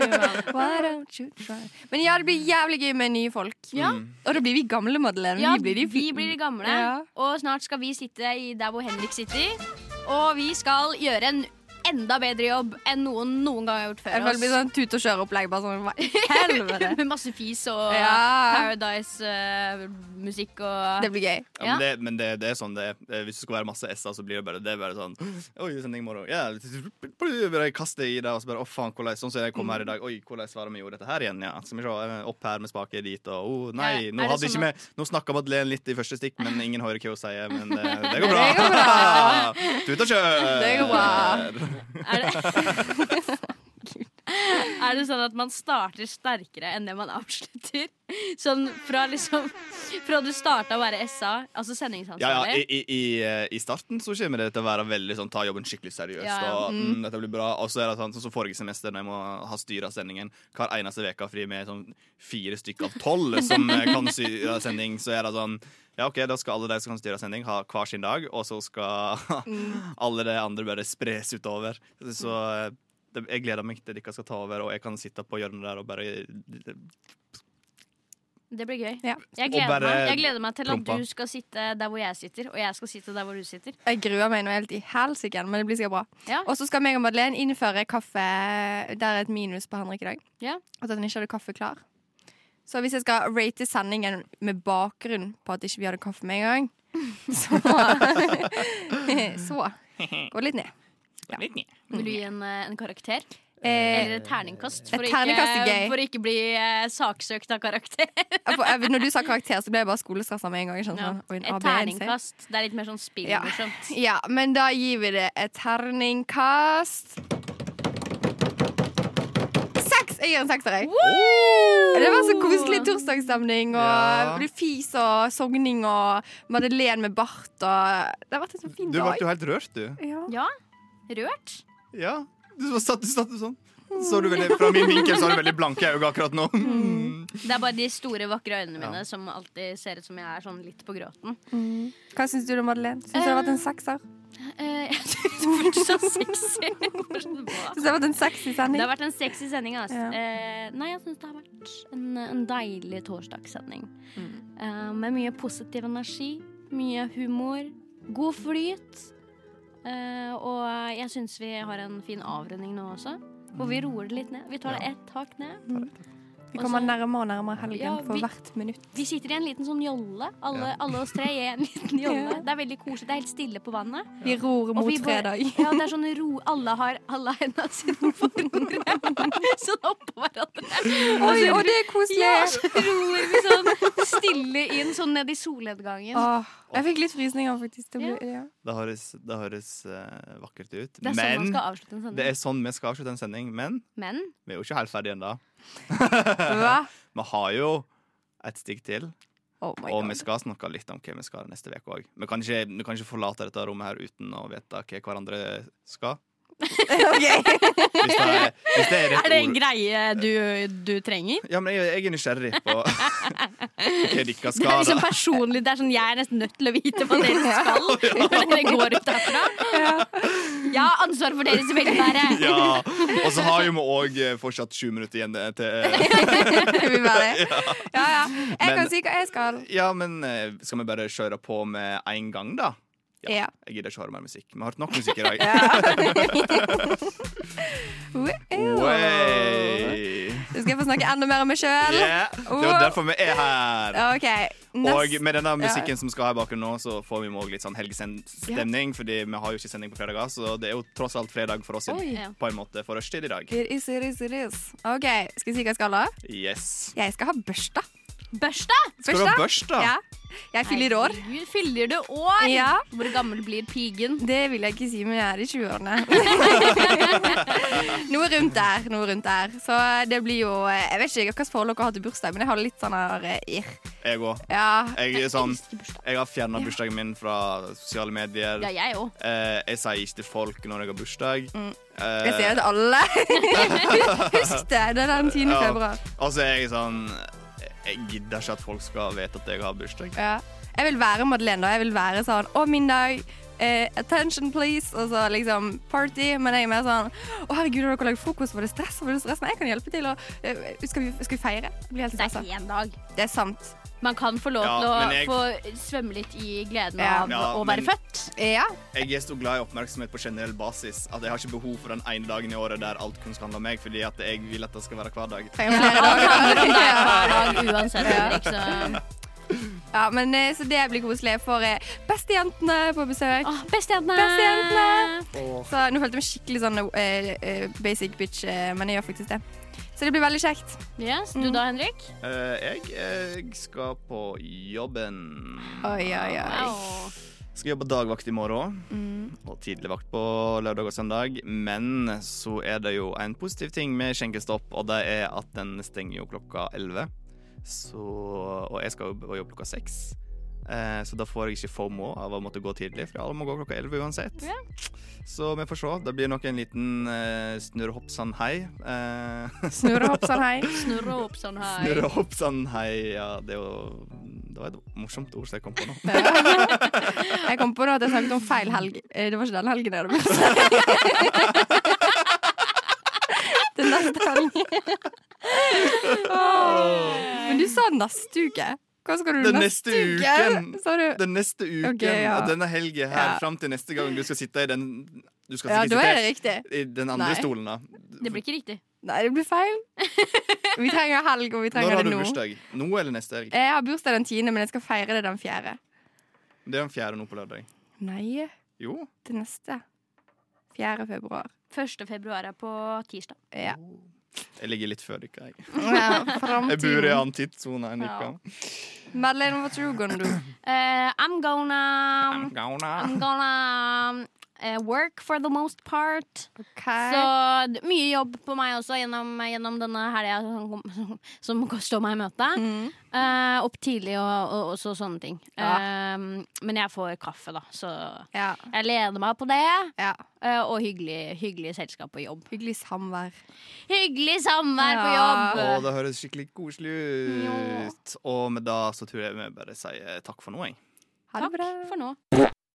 Why don't you try? Men ja, det blir jævlig gøy med nye folk. Ja. Mm. Og da blir vi gamle, Madeleine. Ja, vi blir de vi blir de gamle. Ja. Og snart skal vi sitte i der hvor Henrik sitter. Og vi skal gjøre en enda bedre jobb enn noen noen gang har gjort Jeg før føler det blir oss. sånn tut og kjør-opplegg. Bare sånn, hva- helvete. Med masse fis og Ja. Paradise-musikk og Det blir gøy. Ja, men det, men det, det er sånn det er. Eh, Hvis det skal være masse S-er, så blir det bare, det er bare sånn Oi, sending i morgen. Ja, bare kast det i det, og så bare Å, faen, hvordan Sånn som jeg kom her i dag. Oi, hvordan var det vi gjorde dette her igjen? Ja, skal vi se. eh, Opp her med spaker dit, og Å, nei. Ja, Nå, er det hadde sånn ikke vi Nå snakka Madeleine litt i første stikk, men ingen hører hva hun sier. eh, Men det, det går Det går bra. bra. Tut og kjør. Det går bra. er det, er det sånn at man starter sterkere enn det man avslutter? Sånn fra liksom Fra du starta å være SA, altså Ja, ja, i, sendingsansvarlig, i, i, eh, I starten så kommer det til å være veldig sånn ta jobben skikkelig seriøst. Ja, ja. Og mm, dette blir bra Og så er det sånn sånn som forrige semester, når jeg må ha styr av sendingen hver eneste uke fri med sånn fire stykker av tolv som eh, kan styre sending, så er det sånn ja, ok, Da skal alle de som kan styre sending, ha hver sin dag, og så skal Mm. alle de andre bare spres utover. Så eh, det, jeg gleder meg til dere skal ta over, og jeg kan sitte på hjørnet der og bare det blir gøy. Ja. Jeg, Og gleder bare meg, jeg gleder meg til at prompa. du skal sitte der hvor jeg sitter, og jeg skal sitte der hvor du sitter. Jeg gruer meg nå helt i helsike, men det blir sikkert bra. Ja. Og så skal meg og Madeleine innføre kaffe. Der er et minus på Henrik i dag. Ja. At han ikke hadde kaffe klar. Så hvis jeg skal rate sendingen med bakgrunn på at ikke vi hadde kaffe med en gang, så Så gå litt ned. Vil du gi en, eh, en karakter? Mm. Eh, Eller et terningkast? et For, å terningkast er ikke, gøy. for å ikke bli eh, saksøkt av karakter. for, eh, når du sa karakter, så ble jeg bare skolestressa med en gang. Sånn, Ja. sånn, «Oi, en Et A, B, en C». terningkast. Det er litt mer sånn Ja. spillmorsomt. Ja, men da gir vi det et terningkast Seks! Jeg gir en sekser, jeg. Det var så koselig torsdagsstemning og Ja. både fis og sogning og Madeleine med bart og Det har vært en så fin Du ble dag. jo helt rørt, du. Ja. Ja. Rørt. Ja, du var satt, du satt sånn. Så du veldig, fra min vinkel så har du veldig blanke øyne akkurat nå. Det er bare de store, vakre øynene mine som alltid ser ut som jeg er sånn litt på gråten. Hva syns du da, Madeleine? Syns du det har vært en sekser? Eh, jeg synes det var så sexy. Hvordan var det? Syns det har vært en sexy Det sending? har vært en sexy sending. ass. Ja. Eh, nei, jeg syns det har vært en, en deilig torsdagssending. Mm. Eh, med mye positiv energi, mye humor, god flyt. Eh, og jeg syns vi har en fin avrunding nå også, hvor Mm. vi roer det litt ned. Vi tar det ett hakk ned. Vi kommer Også- nærmere og nærmere helgen Ja, vi- for hvert minutt. Vi sitter i en liten sånn jolle. Alle, Ja. alle oss tre i en liten jolle. Ja. Det er veldig koselig. Det er helt stille på vannet. Vi ror Og mot vi bare- fredag. Ja, det er sånn ro Alle har alle hendene sine på bordet. Sånn oppå hverandre. Oi, og det er koselig! Ja, så ror vi sånn stille inn, sånn ned i solnedgangen. Ah, Åh, jeg fikk litt frysninger, faktisk. Det Ja. ble, ja. Det høres, det høres eh, vakkert ut. Det er sånn man men skal avslutte en sending. det er sånn vi skal avslutte en sending. Men Men vi er jo ikke helt ferdige ennå. Hva? Vi har jo et stikk til, Oh my og God. vi skal snakke litt om hva vi skal neste uke òg. Vi, kan ikke- vi kan ikke forlate dette rommet her uten å vite hva hverandre skal. Ok. Hvis det er, hvis det er rett er det en ord. greie du, du trenger? Ja, men jeg, jeg er nysgjerrig på hva dere Det er skal. liksom da. personlig, det er sånn jeg er nesten nødt til å vite hva dere skal når dere går ut derfra. Jeg har ansvar for deres velvære. Ja. Og så har jo vi òg fortsatt sju minutter igjen eh, til Vi bare Ja, ja. Jeg Men- kan si hva jeg skal. Ja, men eh, skal vi bare kjøre på med en gang, da? Ja. Ja. Jeg gidder ikke høre mer musikk. Vi har hørt nok musikk i dag. Wow. Wey. Nå skal jeg få snakke enda mer om meg sjøl. Yeah. Det var derfor vi er her. OK. Og Nest. med denne musikken som skal ha i bakgrunnen nå, så får vi også litt sånn helgestemning. Fordi vi har jo ikke sending på fredager, så det er jo tross alt fredag for oss i- Oi. på en måte for rushtid i dag. It is, it is, it is. OK, skal jeg si hva jeg skal, da? Yes. Jeg skal ha børsta. Børsta! Skal du ha børsta? Ja. Jeg fyller år. Herregud, Fyller du år? Ja. Hvor gammel blir pigen? Det vil jeg ikke si, men jeg er i 20-årene. noe rundt der. noe rundt der Så det blir jo eh, Jeg vet ikke hvilket forhold dere har til bursdag, men jeg har litt sånn her eh, irr. Jeg òg. Ja. Jeg, er sånn, elsker bursdag. jeg har fjerna bursdagen min fra sosiale medier. Ja, jeg òg. Eh, jeg sier ikke til folk når jeg har bursdag. Eh, Jeg sier det til alle. Husk det. Det er den 10. Ja. februar. Og så er jeg sånn Jeg gidder ikke at folk skal vite at jeg har bursdag. Ja. Jeg vil være Madeleine, da. Jeg vil være sånn Å, min dag. Eh, attention, please. Og så liksom party. Men jeg er mer sånn Å, herregud, har dere lagd frokost? Var det stress? Var det stress? Nei, jeg kan hjelpe til. Og, eh, skal, vi, skal vi feire? Jeg blir helt Det er stressa. ikke én dag. Det er sant. Man kan få lov Ja, til å men jeg- få svømme litt i gleden Ja. av Ja, å men- være født. Ja. Jeg er så glad i oppmerksomhet på generell basis at jeg har ikke behov for den ene dagen i året der alt kun skal handle om meg, fordi at jeg vil at det skal være hver dag. Trenger flere dager. Det er hver dag uansett, liksom. Ja, men eh, så det blir koselig. Jeg får eh, bestejentene på besøk. Åh, Bestejentene! Bestejentene! Så nå følte jeg meg skikkelig sånn eh, eh, basic bitch, eh, men jeg gjør faktisk det. Så det blir veldig kjekt. Yes, du da, Henrik? Eh, jeg, eh, skal på jobben. Oi, oi, oi. Wow. Skal jobbe dagvakt i morgen òg, Mm. og tidligvakt på lørdag og søndag. Men så er det jo en positiv ting med skjenkestopp, og det er at den stenger jo klokka 11. Så, og jeg skal jo jobbe klokka 6. Eh, så da får jeg ikke FOMO av å måtte gå tidlig, for alle må gå klokka 11 uansett. Så vi får se. Det blir nok en liten eh, snurrhoppsann-hei. Eh, Snurre hopp, sånn hei. Snurre opp sånn her. snurrhoppsann-hei, ja. Det, er jo- det var et morsomt ord som jeg kom på nå. Jeg kom på nå at jeg snakket om feil helg. Eh, Det var ikke den helgen jeg hadde bursdag. Den neste helgen. Åh. Men du sa neste uke. Hva skal du Den neste neste uke? uken. Sa du? den neste uken Ok, ja. og denne helgen her Ja. fram til neste gang du skal sitte i den Du skal Ja, sikkert da er sitte det riktig. i den andre Nei. stolen, da. Det blir ikke riktig. Nei, det blir feil. Vi trenger helg, og Når vi trenger har det du nå. bursdag? Nå eller neste helg? Jeg har bursdag den tiende, men jeg skal feire det den fjerde. Det er den fjerde nå på lørdag. Nei, Jo. det neste. 4. februar. 1. februar er på tirsdag. Ja. Jeg ligger litt før dere. Jeg. jeg bor i Framtiden. annen tidssone enn dere. Madeleine, what you gonna do? Eh, I'm gonna I'm gonna- I'm gonna eh, work for the most part. Så Okay. d- mye jobb på meg også gjennom, gjennom denne helga som, kom- som står meg i møte. Mm. Eh, opp tidlig og, og, og så sånne ting. Ja. Eh, men jeg får kaffe, da, så Ja. jeg lener meg på det. ja. eh, og hyggelig, hyggelig selskap på jobb. Hyggelig samvær. Hyggelig samvær på Ja. jobb! Å, det høres skikkelig koselig ut. Og med det så tror jeg vi bare sier takk for nå, jeg. Ha det bra. Takk for nå.